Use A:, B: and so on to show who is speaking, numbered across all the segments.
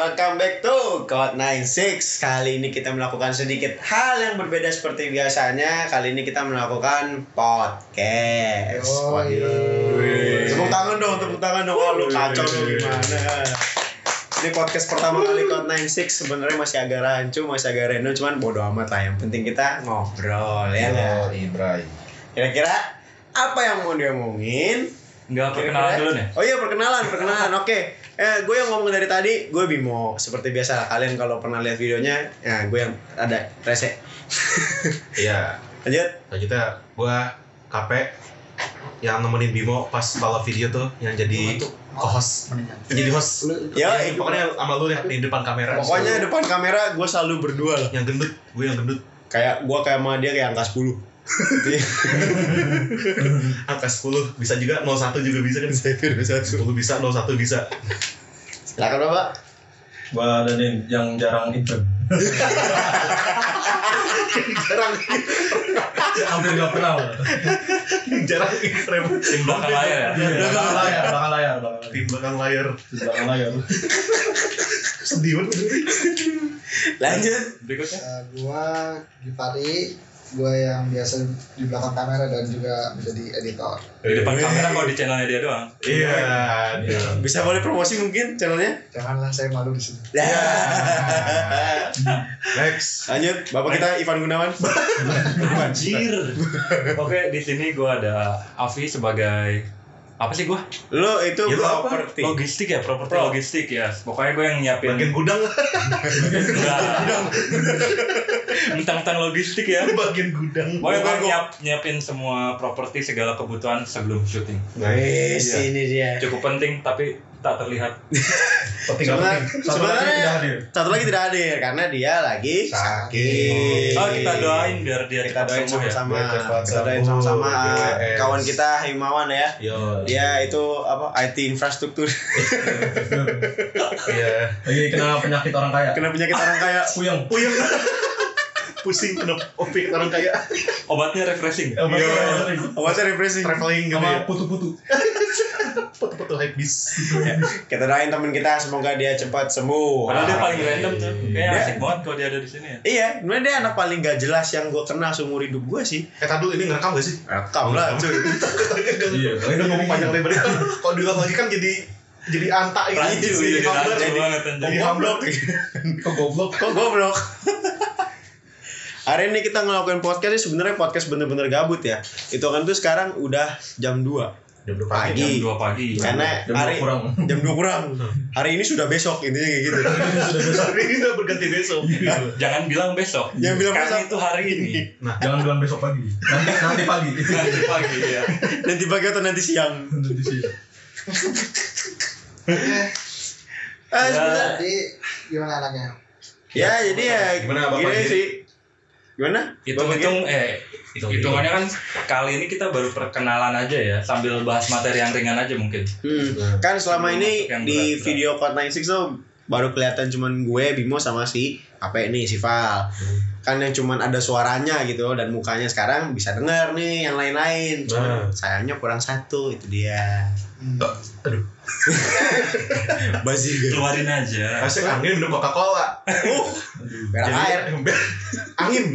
A: welcome back to Code 96 Kali ini kita melakukan sedikit hal yang berbeda seperti biasanya Kali ini kita melakukan podcast
B: Yoi.
A: Wah, gila.
B: Wih.
A: Tepuk tangan dong, tepuk tangan dong Wah, lu kacau lu gimana Ini podcast pertama kali Code 96 sebenarnya masih agak rancu, masih agak random Cuman bodo amat lah, yang penting kita ngobrol ya nggak?
B: Yoi, Bray.
A: Kira-kira apa yang mau diomongin
C: Enggak perkenalan dulu nih.
A: Oh iya perkenalan, perkenalan. Oke. Eh, gue yang ngomong dari tadi, gue Bimo. Seperti biasa kalian kalau pernah lihat videonya, ya gue yang ada rese.
D: Iya,
A: Lanjut.
D: nah kita gua Kape yang nemenin Bimo pas bawa video tuh yang jadi
C: oh,
D: co-host,
B: Mendingan.
D: jadi host.
A: Ya,
D: Yang pokoknya sama lu yang di depan kamera.
A: Pokoknya depan kamera gue selalu berdua lah.
D: yang gendut, gue yang gendut,
A: Kayak gue kayak sama dia kayak angka Iya. 10.
D: angka 10 bisa juga 01 juga bisa kan. 10 bisa, 01 bisa.
A: Silakan Bapak.
C: Gua ada nih yang jarang itu.
A: Terang.
E: hampir nggak pernah loh.
D: Jarang rem
C: Tim belakang layar ya.
E: Iya, belakang layar belakang layar belakang layar
D: tim belakang layar.
E: belakang layar
D: Sedih banget.
A: Lanjut.
C: Berikutnya.
B: Eh, gua Gipari, gua yang biasa di belakang kamera dan juga menjadi editor.
C: Di depan kamera kalau di channelnya dia doang.
D: Iya. iya.
A: Bisa boleh promosi mungkin channelnya? Ya.
B: Janganlah saya malu di sini.
C: Iya.
D: Next.
A: Lanjut. Bapak kita Ivan Gunawan.
E: anjir
C: Oke, di sini gua ada Avi sebagai apa sih gua?
A: Lo itu
D: Ya, lo apa?
A: properti.
C: Logistik ya, properti logistik ya. Pokoknya gua yang nyiapin
D: Bagian gudang lah,
C: Nah, tentang-tentang logistik ya.
D: bagian gudang.
C: Pokoknya gua nyiap, nyiapin semua properti segala kebutuhan sebelum syuting.
A: Wes,
C: Iya.
A: ini dia.
C: Cukup penting tapi tak terlihat.
A: Sebenarnya,
E: Satu lagi
A: sebenarnya
E: tidak hadir.
A: satu lagi tidak hadir karena dia lagi sakit.
C: Oh, kita doain biar
A: Iya,
C: dia
A: kita
C: cepat
A: doain
C: sembuh ya.
A: sama-sama.
D: Biar cepat
A: Kita doain
D: sembuh,
A: sama-sama eh,
D: BWS.
A: kawan kita Himawan ya.
D: Yo.
A: Dia itu apa IT infrastruktur.
D: Iya.
E: lagi kena penyakit orang kaya
A: Kena penyakit orang kaya.
E: puyeng
D: puyeng pusing kena opik orang kaya
C: Obatnya refreshing.
D: Iya.
A: Obatnya refreshing.
D: traveling gitu ya
E: sama putu-putu
D: foto-foto hype bis
A: Ya, Kita doain teman kita semoga dia cepat sembuh.
C: Padahal dia
A: Ah.
C: paling random tuh. Kayaknya
A: Dia-
C: asik banget kalau dia ada di sini ya.
A: Iya, sebenarnya dia anak paling gak jelas yang gue kenal seumur hidup gue sih.
D: eh tadi ini ngerekam gak sih
A: Rekam lah, cuy.
E: iya
D: ini udah ngomong panjang lebar kalau diulang lagi kan jadi jadi antak
A: iya,
C: Rancu,
D: gitu
C: jadi
D: jadi hambar
C: rancu iya, banget
D: jadi
C: anjing.
D: hamblok
E: kok goblok
A: Kok goblok? Hari ini kita ngelakuin podcast sih sebenarnya podcast bener-bener gabut ya. Itu kan tuh sekarang udah jam 2
D: jam berapa
A: pagi.
C: Jam 2 pagi.
A: Iya. Karena
E: jam
A: hari
E: kurang
A: jam 2 kurang. Hari ini sudah besok intinya kayak gitu.
D: hari ini udah berganti besok
C: Jangan bilang besok.
A: Jangan bilang
C: Karena
A: besok.
C: itu hari ini.
E: Nah, jangan bilang besok pagi nanti nanti pagi
C: Nanti pagi ya.
A: nanti pagi atau nanti siang.
E: nanti sih
A: Ah,
C: Ya.
A: sebentar.
B: Jadi gimana anaknya?
A: ya, jadi ya
D: Gimana, Bapak
A: gini
D: jadi?
A: sih. Gimana? Bapak gini?
C: Hitung-hitung eh hitungannya kan kali ini kita baru perkenalan aja ya sambil bahas materi yang ringan aja mungkin.
A: Hmm. Kan selama
C: Sebelum
A: ini
C: masuk yang
A: di
C: berat-berat.
A: video Code 96 tuh baru kelihatan cuman gue, Bimo sama si apa ini si Val. Kan yang cuman ada suaranya gitu dan mukanya sekarang bisa denger nih yang lain-lain. Cuman sayangnya kurang satu itu dia.
B: Hmm.
A: Bazir.
C: Keluarin aja.
D: Asik angin kan minum Coca Cola.
A: Uh, merah air, angin.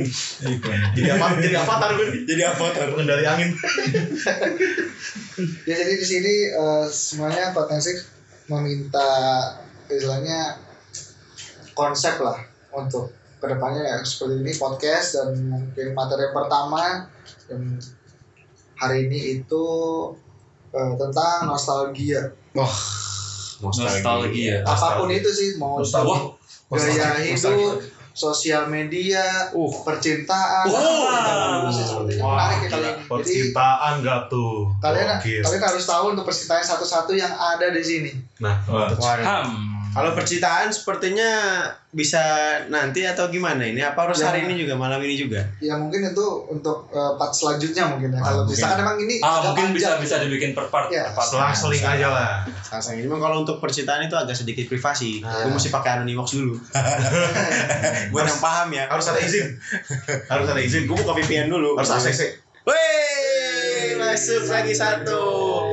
D: Jadi apa? Jadi avatar gue nih.
A: Jadi apa?
D: Pengendali angin.
B: Ya jadi di sini eh, semuanya potensi meminta istilahnya konsep lah untuk kedepannya ya seperti ini podcast dan mungkin materi pertama yang hari ini itu eh, tentang nostalgia.
A: Wah,
D: Iya,
C: Nostalgia.
B: Apapun itu sih mau
E: Nostalgia.
B: gaya hidup, sosial media,
A: Uh.
B: percintaan. Nah,
C: Wow.
B: Itu sih sepertinya.
D: Wah,
B: Menarik ya kali ini. Jadi
D: Percintaan gak tuh?
B: kalian
D: Gokil.
B: kalian harus tahu untuk percintaan satu-satu yang ada di sini.
D: Nah,
A: Waduh.
C: Ham.
A: Kalau percintaan sepertinya bisa nanti atau gimana ini? Apa harus
B: Ya.
A: hari ini juga malam ini juga?
B: Ya mungkin itu untuk eh, part selanjutnya mungkin ya. Kalau
D: mungkin.
B: bisa kan emang ini agak
C: Ah mungkin bisa
B: panjang.
C: bisa dibikin per part.
B: Ya.
A: Iya,
C: per part.
D: selang-seling aja lah.
A: Nah, Sayang ini kalau untuk percintaan itu agak sedikit privasi.
D: Ah.
A: Gue mesti pakai anonimox dulu. Gue yang paham ya.
D: Harus ya. ada izin. Harus ada izin.
A: Iya. Gue buka VPN dulu.
D: Harus ACC.
A: Wey! Yeay, masuk lagi satu.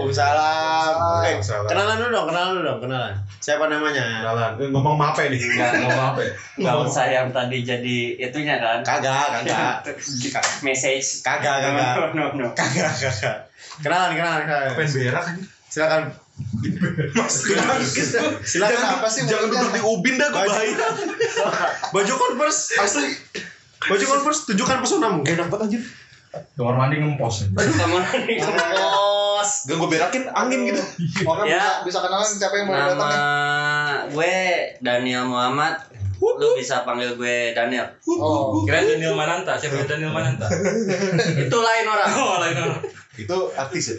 A: Waalaikumsalam. Eh,
D: Salah.
A: kenalan dulu dong, kenalan dulu dong, kenalan. Siapa namanya?
D: Kenalan. Eh, Ngomong sama apa nih?
F: Nggak ngomong
E: apa ya?
F: ngomong sayang tadi jadi itunya kan.
A: Kagak, kagak.
F: Message.
A: Kagak, kagak.
F: No, no, no.
A: Kagak, kagak. Kenalan, kenalan, kenalan.
D: Pengen berak aja.
A: Silakan. Silakan apa sih?
D: Jangan
A: maksudnya?
D: duduk di ubin dah, gue
A: Baju-
D: bahaya.
A: Baju Converse, asli. Baju Converse tunjukkan pesonamu. Enak banget anjir.
E: Kamar mandi ngempos.
F: Kamu nanti ke pos.
D: Gak gue berakin angin gitu.
B: Orang
F: Ya.
B: bisa, bisa kenalan siapa yang mau datang ya?
F: Nama
B: nih?
F: gue Daniel Muhammad. Lu bisa panggil gue Daniel.
B: Oh,
C: Kira Daniel Mananta, siapa itu Daniel Mananta?
F: Itu lain orang.
C: Oh, lain orang.
A: Iya.
D: Itu artis ya?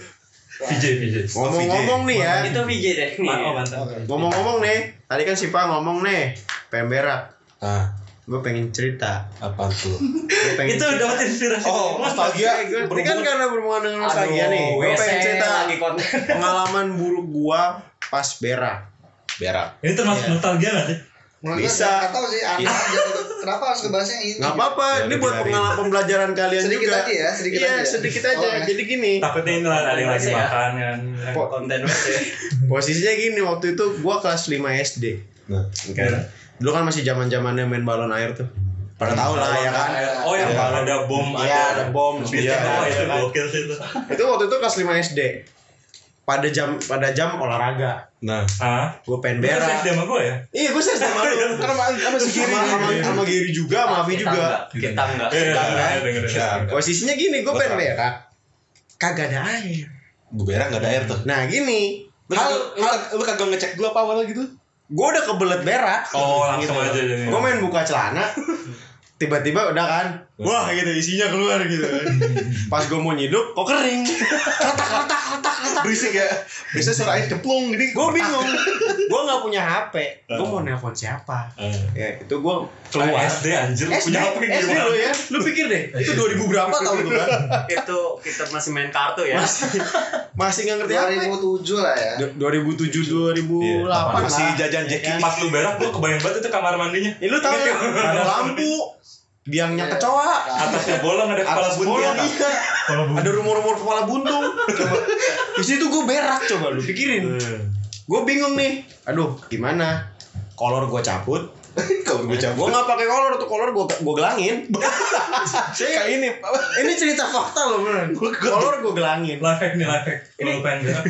C: VJ, VJ.
A: Ngomong-ngomong nih ya.
F: Itu VJ deh.
C: Ma- Oh, mantap.
B: oke.
A: Ngomong-ngomong nih, tadi kan Sipa ngomong nih, pengen berak.
D: Ah,
A: Gue pengen cerita.
D: apa tuh?
A: Gue pengen
F: Itu dapat inspirasi.
D: Oh, nostalgia.
A: Gue ini kan karena berhubungan dengan nostalgia nih. Gue pengen cerita
F: lagi konten.
A: pengalaman buruk gua pas berak.
D: Berak.
G: Ini termasuk
A: Iya.
G: nostalgia nggak sih?
B: menurut gue
A: Bisa.
B: nggak tahu sih aneh aja gitu. Kenapa harus ngebahasnya yang ini?
A: Nggak apa-apa,
D: Ya,
A: ini
D: lebih
A: buat
D: dari-
A: pengalaman pembelajaran kalian
B: Sedikit
A: juga.
B: aja ya, sedikit
A: Iya,
B: aja.
A: sedikit
B: Oh,
A: aja.
B: ya.
A: Jadi gini,
C: Takutnya ini lah, ada yang lagi
F: Masih ya?
C: makan kan.
F: Konten ya. WC.
A: posisinya gini waktu itu gua kelas 5 SD.
D: Nah,
A: Kan? Dulu kan masih zaman-zamannya main balon air tuh. Pada tahu lah ya kan.
C: Oh, yang
A: Iya.
C: ada bom,
A: Iya, ada bom.
C: Iya,
A: Iya,
C: oh,
A: iya,
C: itu
A: kan.
C: gokil sih itu.
A: Itu waktu itu kelas 5 SD. Pada jam pada jam olahraga.
D: nah.
C: Ah,
A: Gue pengen
C: itu
A: berak.
C: sama gue ya?
A: Iya, gue sih sama lu. Kan sama sama si Giri, sama sama Giri juga, sama Avi juga.
F: Kita enggak.
C: Iya,
A: Sedang, kan?
C: iya, dengerin.
D: Sedang.
A: Posisinya gini, gue pengen
D: Betul.
A: berak. Kagak ada air.
D: Gue berak gak ada air tuh.
A: Nah gini,
D: Lu, kagak- lu, kag- lu kagak ngecek dulu apa awalnya gitu?
A: gue udah kebelet berak.
C: Oh, langsung aja
A: Gue Iya,
C: jadi.
A: gitu. main buka celana, tiba-tiba udah kan, wah gitu isinya keluar gitu. kan. Pas gue mau nyidup, kok kering. Retak, retak, retak, retak.
D: Berisik ya. Biasanya suara air ceplung jadi
A: Gue bingung, gue nggak punya HP. Gue mau nelpon siapa? Ya itu gue
C: Keluar Eh. SD anjir,
A: SD,
C: punya apa
A: SD
C: gimana?
A: lo ya, Iya. lu pikir deh, itu 2000 berapa tahun itu kan?
F: Itu kita masih main kartu ya.
A: Masih nggak ngerti Iya, apa?
B: 2007 lah ya.
A: 2007 2008
D: masih
A: lah.
D: jajan Jackie.
C: Pas lu berak, gue kebayang banget itu kamar mandinya.
A: Ya lu tahu ya, ada lampu, biangnya kecoa,
C: Atasnya bolong ada kepala
A: atas
C: buntung.
A: bolong iya. Ada rumor-rumor kepala buntung. Coba. Iya. Di situ gue berak coba lu pikirin.
C: Eh,
A: Gue bingung nih. Aduh, gimana? Kolor gue cabut.
D: Kalau gue
A: Gue
D: cabut.
A: nggak pakai kolor tuh kolor gue gue gelangin. Kayak ini. Ini cerita fakta loh beneran. Kolor gue gelangin.
C: Life hack nih life hack. Kalau lu pengen berak,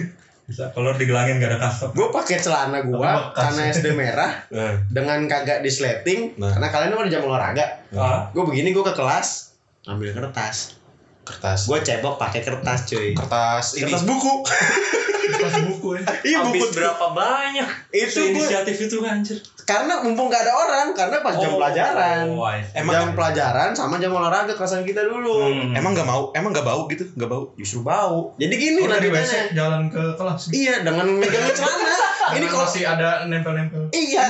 C: bisa. Kalau digelangin gak ada kasur.
A: Gue pakai celana gue karena SD merah
C: Eh.
D: Nah,
A: dengan kagak disleting
D: Nah.
A: karena kalian pada jam olahraga.
C: Ah,
A: Gue begini gue ke kelas ambil kertas.
D: kertas.
A: Gue cebok pakai kertas cuy.
D: kertas ini.
A: Kertas buku.
E: Pas buku ya.
A: Iya buku
F: Habis berapa banyak?
A: itu gue
C: inisiatif itu kan anjir.
A: karena mumpung gak ada orang karena pas jam
C: Oh,
A: pelajaran
C: oh, I see.
A: emang jam pelajaran sama jam olahraga kelasan kita dulu
C: Hmm.
D: Emang gak mau, emang gak bau gitu, gak bau.
A: justru bau jadi gini
E: Udah ya? di WC
A: lanjutannya
E: jalan ke kelas.
A: iya dengan megang celana ini
E: Ini
A: kalau
E: masih ada nempel-nempel.
A: iya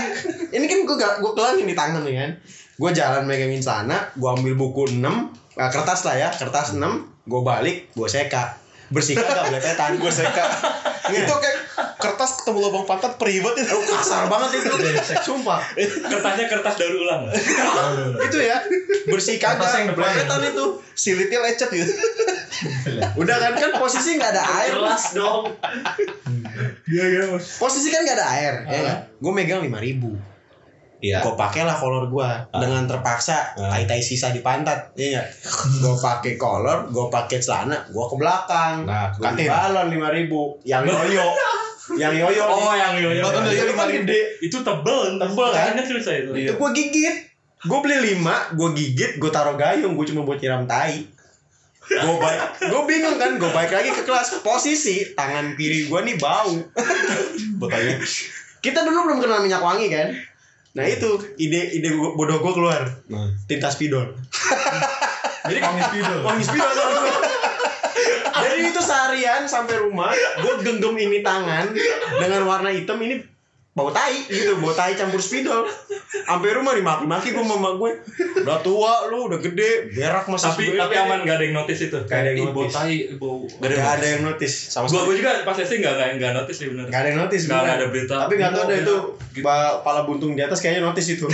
A: ini kan gue gak gue kelangin di tangan nih kan gue jalan megangin celana gue ambil buku 6 kertas lah ya kertas 6 gue balik gue seka bersikat gak belepetan gue seka
D: Itu kayak kertas ketemu lubang pantat peribet itu.
A: kasar banget itu sumpah
C: kertasnya kertas daur ulang.
A: itu ya bersih
E: Kertas
A: kagak
E: yang depan.
A: belepetan itu
D: Silitnya lecet gitu.
A: udah kan kan posisi nggak ada air
F: Jelas dong.
E: Iya iya. Mas.
A: posisi kan nggak ada air ya kan gue megang lima ribu
D: Iya.
A: gue pakailah kolor gue dengan terpaksa
D: Ah.
A: tai tai sisa di pantat iya gue pakai kolor gue pakai celana gue ke belakang
D: Nah,
A: gua
D: kantin.
A: balon lima ribu yang yoyo yang yoyo
C: Oh,
A: nih.
C: yang yoyo.
D: Balon yoyo
A: Itu kan
D: 5.000.
A: gede
C: Itu tebel,
A: Tebel, kan?
C: Kan susah itu.
A: itu gue gigit gue beli lima gue gigit gue taruh gayung gue cuma buat nyiram tai gue baik gue bingung kan gue balik lagi ke kelas posisi tangan kiri gue nih bau
D: Betanya.
A: kita dulu belum kenal minyak wangi kan nah itu ide ide gua- bodoh gue keluar
D: Nah.
A: tinta spidol
E: Jadi kami tidur.
A: wangi spidol sama gua. jadi itu seharian sampai rumah gue genggam ini tangan dengan warna hitam ini bau tai gitu bau tai campur spidol sampai rumah dimaki-maki gue mama gue udah tua lu udah gede berak masa
C: Tapi
A: spidol."
C: tapi aman gak ada yang notice itu.
A: Gak ada yang
C: Ih, bau
A: notice.
C: tai, bau.
A: gak ada, yang notice sama sekali
C: Gua gua juga pas SD gak gak notice sih bener.
A: gak ada yang notice
C: Gak
A: beneran.
C: ada berita.
A: tapi nggak tahu
C: Oh,
A: deh
C: iya.
A: itu pa- pala buntung di atas kayaknya notice itu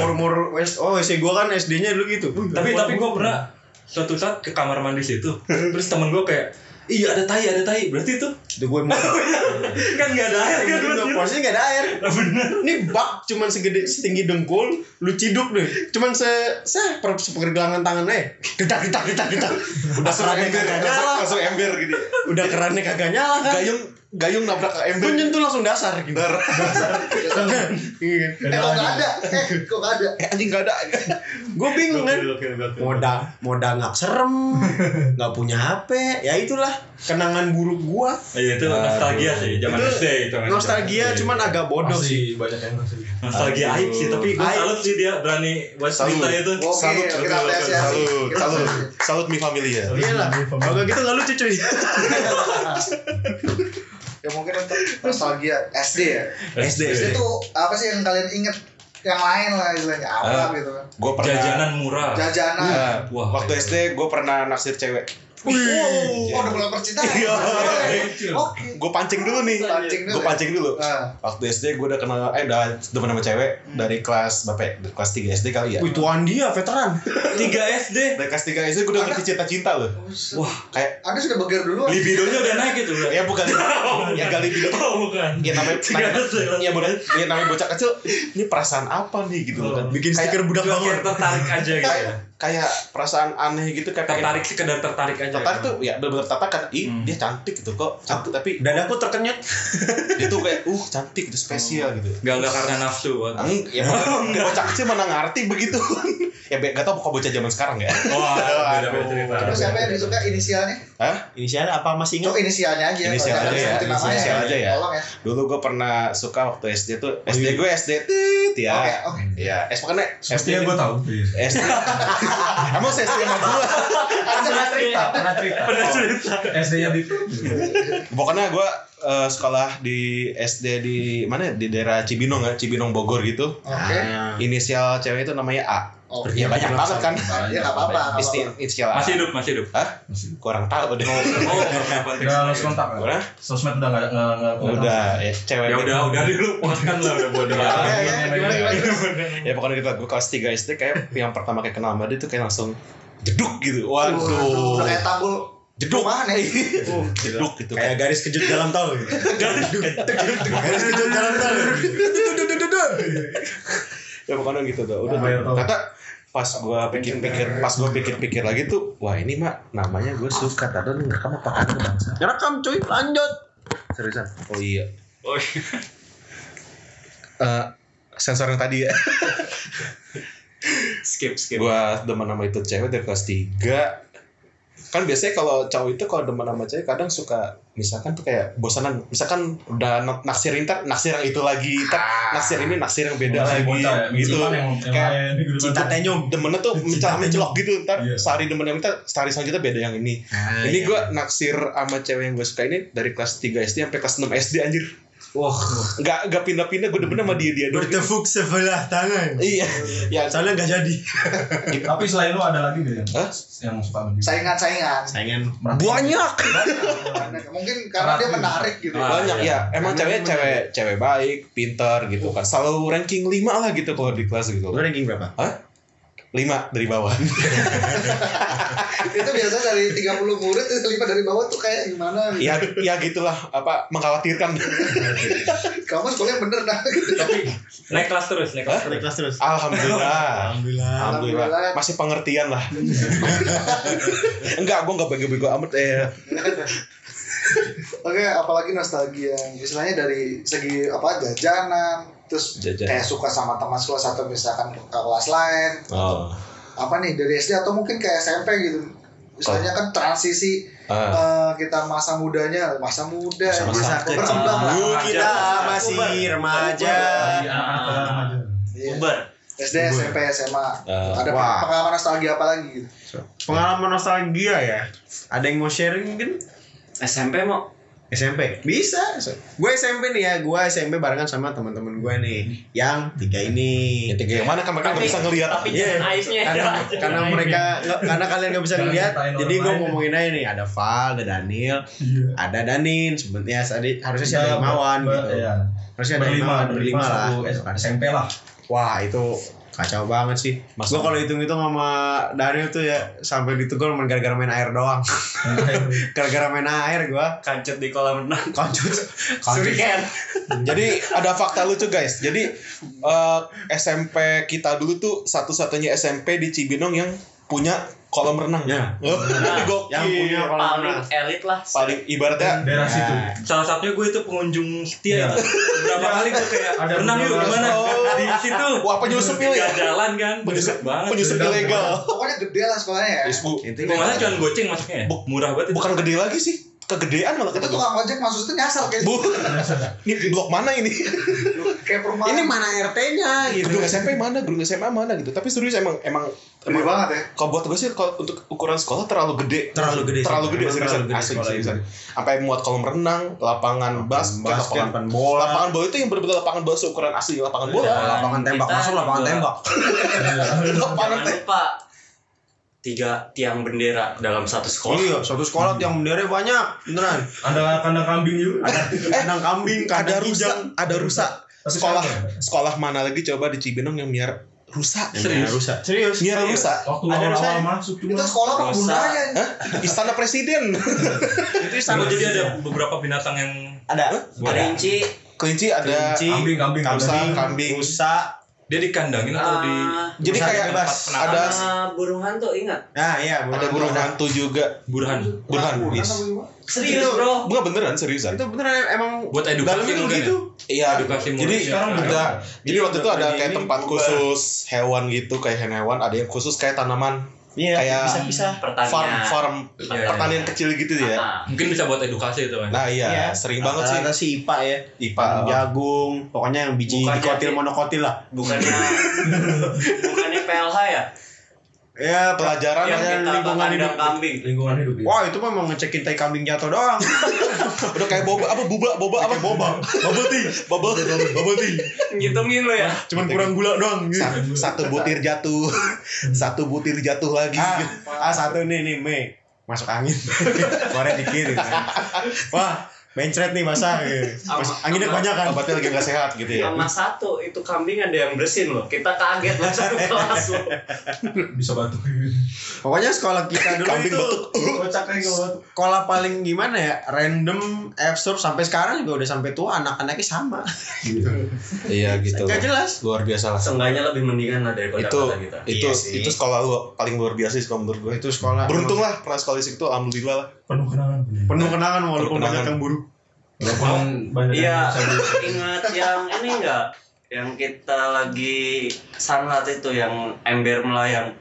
A: umur umur oh sih gue kan SD nya dulu gitu
C: tapi tapi gue pernah suatu saat ke kamar mandi situ terus temen gue kayak iya ada tai ada tai berarti itu
D: Itu gue mau.
C: kan nggak ada air kan
D: Udah
C: berarti
D: porsinya gak ada air.
C: bener
D: Ini bak cuman segede setinggi dengkul, lu ciduk deh. Cuman se se per- sepergelangan tangan aja. Getak getak getak getak. Udah kerannya kagak nyala.
A: langsung ember gini
D: Udah kerannya kagak nyala kan.
A: gayung gayung nabrak ke
D: Gue
A: ember
D: nyentuh langsung dasar gitu. Iya
B: Eh
D: kan?
B: kok nggak ada? Eh kok nggak ada?
A: eh anjing gak ada
D: Gue bingung kan. Moda moda nggak serem, nggak punya HP. Ya itulah kenangan buruk gua.
C: iya itu
A: Aduh.
C: nostalgia sih zaman
D: Itu
C: SD itu kan.
D: Nostalgia
C: Zaman
D: cuman
C: SD.
D: agak bodoh sih.
E: Masih banyak yang masih.
C: nostalgia aib sih tapi gue
D: Aib.
C: salut sih dia berani buat
A: Salut.
C: cerita itu
B: Oke,
A: Salut,
B: kita
C: salut,
B: apresiasi.
A: salut
B: Kita
A: salut
B: apresiasi.
A: salut mi ya. familia
D: Iya lah. Kalau nggak gitu nggak lucu cuy.
B: Ya mungkin untuk nostalgia SD ya.
D: SD.
B: SD tuh apa sih yang kalian inget? Yang lain lah istilahnya apa
C: Ah.
B: gitu kan?
A: gue pernah
C: jajanan murah
B: Jajanan.
A: Nah,
C: wah
A: waktu SD gue pernah naksir cewek
B: Wih, oh, udah mulai percintaan.
A: Iya.
B: Oke. Oke.
A: gue pancing dulu nih
B: Pancing dulu
A: gue
B: ya?
A: pancing dulu
B: Ah.
A: waktu SD gue udah kenal eh udah demen sama cewek dari kelas berapa ya? Dari kelas 3 SD kali ya
D: Hmm. Wih tuan dia veteran.
C: 3 SD
A: dari kelas 3 SD gue udah ngerti cinta-cinta loh
B: Wah,
A: kayak
B: Anda sudah beger duluan.
C: libidonya udah naik gitu udah
A: ya bukan ya kali gitu
C: oh bukan
A: ya namanya
C: Tiga
A: namanya-
C: SD
A: ya bocah ya namanya bocah kecil ini perasaan apa nih gitu loh kan
D: Oh. Bikin stiker budak
C: Cuma
D: bangun.
C: kayak tertarik aja gitu ya
A: kayak perasaan aneh gitu kayak pengen-
C: tertarik sekedar tertarik
D: Iya,
C: aja
A: tertarik tuh ya bener-bener tertarik kan ih
C: Hmm.
A: dia cantik gitu kok cantik tapi
D: Dadaku terkenyet.
A: dia tuh kayak uh cantik gitu spesial gitu
C: Gak, gak karena nafsu
D: Hmm.
C: Wak.
A: Ang, ya pokoknya bocah kecil mana ngerti begitu ya be- gak tau pokok bocah zaman sekarang ya
C: Wah, beda-beda cerita.
B: Terus siapa yang disuka inisialnya?
A: Hah?
D: Inisialnya apa masih
B: Cok
D: ingat?
B: inisialnya aja.
A: Inisial
B: Kalau
A: aja
B: jangan
A: Iya. ya,
B: sebutin namanya
A: inisial aja ya.
B: Tolong ya.
A: dulu gue pernah suka waktu SD tuh
D: Oh,
A: SD
D: iya.
A: gue SD tit
B: Oke,
A: ya
B: oke.
A: ya es makanya SD
E: Sepertinya gue tahu.
A: SD kamu SD sama gue
B: Anda nggak cerita.
E: Pernah cerita.
C: Pernah cerita.
E: SD-nya di
A: pokoknya gue eh, sekolah di SD di mana ya? di daerah Cibinong ya Cibinong Bogor gitu
B: Oke.
D: Ah.
A: inisial cewek itu namanya A
B: Oke.
A: ya banyak banget kan
B: Ya enggak apa-apa. nggak
A: Isti,
B: apa-apa.
A: inisial A
C: Masih hidup, masih hidup.
A: kurang tahu deh
C: Oh, kenapa?
E: Udah harus kontak. nggak?
A: Udah?
E: Sosmed udah nggak nggak nggak.
A: udah ya cewek
C: Ya udah, udah dulu puaskan lah udah bodo
B: Oke,
C: amat.
B: oke. Gimana, gimana, gimana?
A: ya pokoknya gitu gue kelas 3 SD kayak yang pertama kayak kenal sama dia tuh kayak langsung jeduk gitu waduh
B: Udah kayak tanggul
A: jeduk
B: Rumah nih.
A: jeduk gitu
D: Kayak garis kejut dalam tol. gitu. garis kejut dalam tol.
A: ya pokoknya gitu tuh udah
E: Bayar tol.
A: kata pas gue pikir-pikir pas gue pikir-pikir lagi tuh wah ini mah namanya gue suka tadi lu ngerekam apa kagak bangsa
D: Ngerekam cuy, lanjut.
A: seriusan oh iya
C: Oh,
A: Eh, sensor yang tadi ya
C: skip, skip.
A: gue demen sama itu cewek dari kelas 3 kan biasanya kalau cowok itu kalau demen sama cewek kadang suka misalkan tuh kayak bosanan misalkan udah na- naksir inter naksir yang itu lagi ter naksir ini naksir yang beda lagi
E: ya.
A: gitu Kayak
E: gitu kan.
D: Cinta tenyum.
A: demennya tuh mencelah mencelok gitu ntar
E: Iya.
A: sehari demen yang kita sehari selanjutnya beda yang ini
D: Ah,
A: ini
D: iya,
A: gue naksir sama cewek yang gue suka ini dari kelas 3 SD sampai kelas 6 SD anjir wah nggak nggak pindah-pindah gue demen sama dia dia doang
D: Bertepuk sebelah tangan.
A: iya ya
D: Soalnya nggak jadi.
E: Tapi selain lu ada lagi gak yang
A: Hah?
E: yang suka sama dia?
B: Saingan-saingan.
D: Saingan.
E: Merhatiin.
B: Mungkin karena dia menarik gitu.
C: Ah,
A: banyak
C: iya.
A: ya emang cewek
E: Karena emang
A: cewek cewek baik pintar gitu kan selalu ranking 5 lah gitu kalau di kelas gitu
D: Oh. Lu ranking berapa?
A: 5 dari bawah
B: Itu biasa dari 30 murid terlipat dari bawah tuh kayak gimana gitu.
A: ya ya gitulah apa mengkhawatirkan
D: Iya,
B: Kamu sekolahnya bener dah.
C: Naik kelas terus, naik kelas
D: Naik
C: terus.
D: kelas terus.
A: alhamdulillah
D: Alhamdulillah.
A: alhamdulillah masih pengertian lah enggak gue nggak bego-bego amat eh
B: Oke, apalagi nostalgia. Istilahnya dari segi apa jajanan, terus
A: Jajan.
B: kayak suka sama teman sekelas atau misalkan ke kelas lain.
A: oh
B: Apa nih dari SD atau mungkin ke SMP gitu. Misalnya kan transisi
A: ah.
B: eh, kita masa mudanya, masa muda,
A: Masa-
D: Masa
B: kok berkembang lah.
D: kecil kita masih remaja.
E: Lagi anak-anak ke remaja.
B: Iya.
F: Uber.
B: SD, SMP, SMA.
A: Eh,
B: Ada
D: wah.
B: pengalaman nostalgia apa lagi gitu?
D: Pengalaman nostalgia ya. Ada yang mau sharing mungkin?
F: SMP mau
D: SMP bisa gue SMP nih ya gue SMP barengan sama teman-teman gue nih yang tiga ini
A: yang tiga yang mana kan mereka nggak bisa ngelihat
F: tapi
D: Iya.
F: jangan aibnya
D: karena karena mereka nggak- karena kalian nggak bisa
E: Jangan
D: ngeliat
E: ceritain orang
D: jadi gue
E: lain.
D: ngomongin aja nih ada Val ada Daniel
E: Iya.
D: ada Danin sebenarnya ya, tadi harusnya sih ada Imawan gitu
E: Iya.
D: harusnya ada
E: Berlima, eh,
D: Imawan
E: berlima
D: berlima lah
E: satu SMP lah.
D: wah itu
A: Kacau banget sih.
D: Mas-
A: Gue kalau hitung-hitung sama Dario tuh ya sampai ditegur cuman gara-gara main air doang. gara-gara main air gue
F: kancet di kolam renang
A: kancut.
F: surikan
D: Jadi ada fakta lucu guys. Jadi eh, SMP kita dulu tuh satu-satunya SMP di Cibinong yang punya kolam renang.
A: Ya.
D: Gokil.
A: Yang punya kolam renang.
F: paling elit lah
D: paling ibaratnya
E: Daerah situ.
B: Iya.
A: Ya.
C: Salah satunya gue itu pengunjung setia
E: Iya.
C: itu. Berapa kali gue kayak
E: Ada
C: renang yuk
E: beberapa-
C: gimana?
D: Oh.
C: Di situ.
D: wah penyusup ini
C: Gak
D: ya.
C: jalan kan,
D: Penyusup
C: berisik banget.
D: Penyusup
E: Dendam.
D: ilegal.
B: Pokoknya gede lah sekolahnya ya.
D: Yes, bu.
A: Itu
C: Gue malah cuman goceng masuknya ya.
D: Buk-
C: Murah banget itu.
D: Bukan gede lagi sih. Kegedean malah
B: Itu
D: kata gua.
B: tukang ojek maksudnya nyasar kayak
D: Bu. Ini di blok mana ini?
B: kayak perumahan.
A: ini mana RT-nya gitu.
D: Gedung SMP mana? Gedung SMA mana gitu. Tapi serius emang emang
B: gede banget ya.
D: kalau buat gue sih kalau untuk ukuran sekolah terlalu gede
A: Terlalu gede sih.
D: terlalu gede
A: Emang
D: seriusan
A: terlalu gede
D: asli
A: sekolah
D: seriusan sampai muat kolam renang lapangan basket, lapangan
A: lapangan bola,
D: lapangan bola itu yang benar-benar lapangan bola ukuran asli lapangan bola
F: Iya.
A: lapangan tembak,
F: Kita
A: masuk lapangan
F: juga.
A: tembak.
D: lapangan
E: Iya.
F: jangan
D: tembak
F: lupa tiga tiang bendera dalam satu sekolah
A: Iya, satu sekolah yang bendera banyak, beneran.
E: Ada kandang kambing juga.
A: Ada kandang kambing,
D: ada
A: kandang
D: rusa
A: kijang.
D: ada rusa
E: Tapi
D: sekolah
E: siapa ya?
D: sekolah mana lagi coba di Cibinong yang miar rusa
A: Serius? Rusa. Serius?
D: miar rusa
E: Waktu
A: Ada
E: awal-awal
A: saya.
E: masuk
B: Itu
E: cuma
B: sekolah ya? apa
F: Masa-
B: gunanya?
D: istana presiden
A: Itu
C: Sama jadi ada beberapa binatang yang
A: ada
F: kelinci
D: kelinci ada
A: Kelinci,
E: kambing kambing
D: kamsa
E: kambing.
D: kambing
A: rusa.
C: dia dikandangin atau di
F: ah,
D: jadi
A: Rusa
D: kayak
A: bebas.
D: ada
F: sama burung hantu ingat
A: Nah, iya,
D: ada burung hantu juga
C: burahan.
D: burhan yes.
F: serius
A: Itu-
F: bro
D: Bukan beneran seriusan
A: Itu beneran emang
C: Buat edukasi
A: dalamnya tuh
C: mungkin
A: gitu.
D: iya
C: Edukasi
D: jadi
C: murid ya.
E: Sekarang
D: ada
E: udah
D: Jadi waktu itu
A: udah
D: ada
A: pada
D: kayak
A: ini
D: tempat
A: berubah.
D: khusus hewan gitu kayak hewan, ada yang khusus kayak tanaman,
A: Iya,
D: Kayak-
A: bisa-bisa.
F: pertanyaan
D: farm farm
C: Iya.
D: pertanian kecil gitu ya.
F: Ah,
C: Mungkin bisa buat edukasi itu kan.
D: Nah iya,
A: Iya.
D: sering banget sih
A: Ada si IPA ya.
D: IPA.
A: jagung, pokoknya yang biji
F: Bukannya
A: dikotil
F: sih.
A: monokotil lah.
F: bukannya bukannya PLH ya
A: Ya,
D: Pelajaran
F: yang
A: pelajaran
F: kita
A: lingkungan hidup.
F: kandang kambing
E: lingkungan hidup ya.
A: Wah, itu mah emang ngecekin tai kambing jatuh doang.
D: udah kayak boba apa boba boba apa boba bubble tea bubble bubble tea
F: ngitungin lo ya
A: Cuman kurang gula doang. gitu.
D: Sa- satu butir jatuh satu butir jatuh lagi
A: Ah,
D: gitu.
A: ah, satu nih nih Mei masuk angin korek dikit gitu. wah mencret nih basah gitu. Mas,
F: Sama-
A: anginnya
F: sama-
A: banyak kan
D: obatnya lagi nggak sehat gitu ya
F: sama satu itu kambing ada yang bersin loh kita kaget lah satu kelas loh
E: Bisa bantu.
A: pokoknya sekolah kita dulu
D: Kambing
A: itu
D: batuk.
E: Kocak kayak kalau batuk.
A: sekolah paling gimana ya random absurd sampai sekarang juga udah sampai tua anak-anaknya sama
D: iya gitu
A: gak jelas
D: luar biasa lah
F: Seenggaknya lebih mendingan lah daripada
D: itu
F: kata kita
D: itu
A: Iya sih.
D: itu sekolah lu paling luar biasa sih kalau menurut gue
A: itu sekolah
D: beruntung lah pernah sekolah di situ alhamdulillah lah
E: Penuh kenangan.
A: penuh kenangan walaupun
D: Penuh kenangan.
A: banyak yang buruk
E: Walaupun banyak
F: Iya.
E: yang bisa di-
F: ingat yang ini enggak yang kita lagi sanlat itu yang ember melayang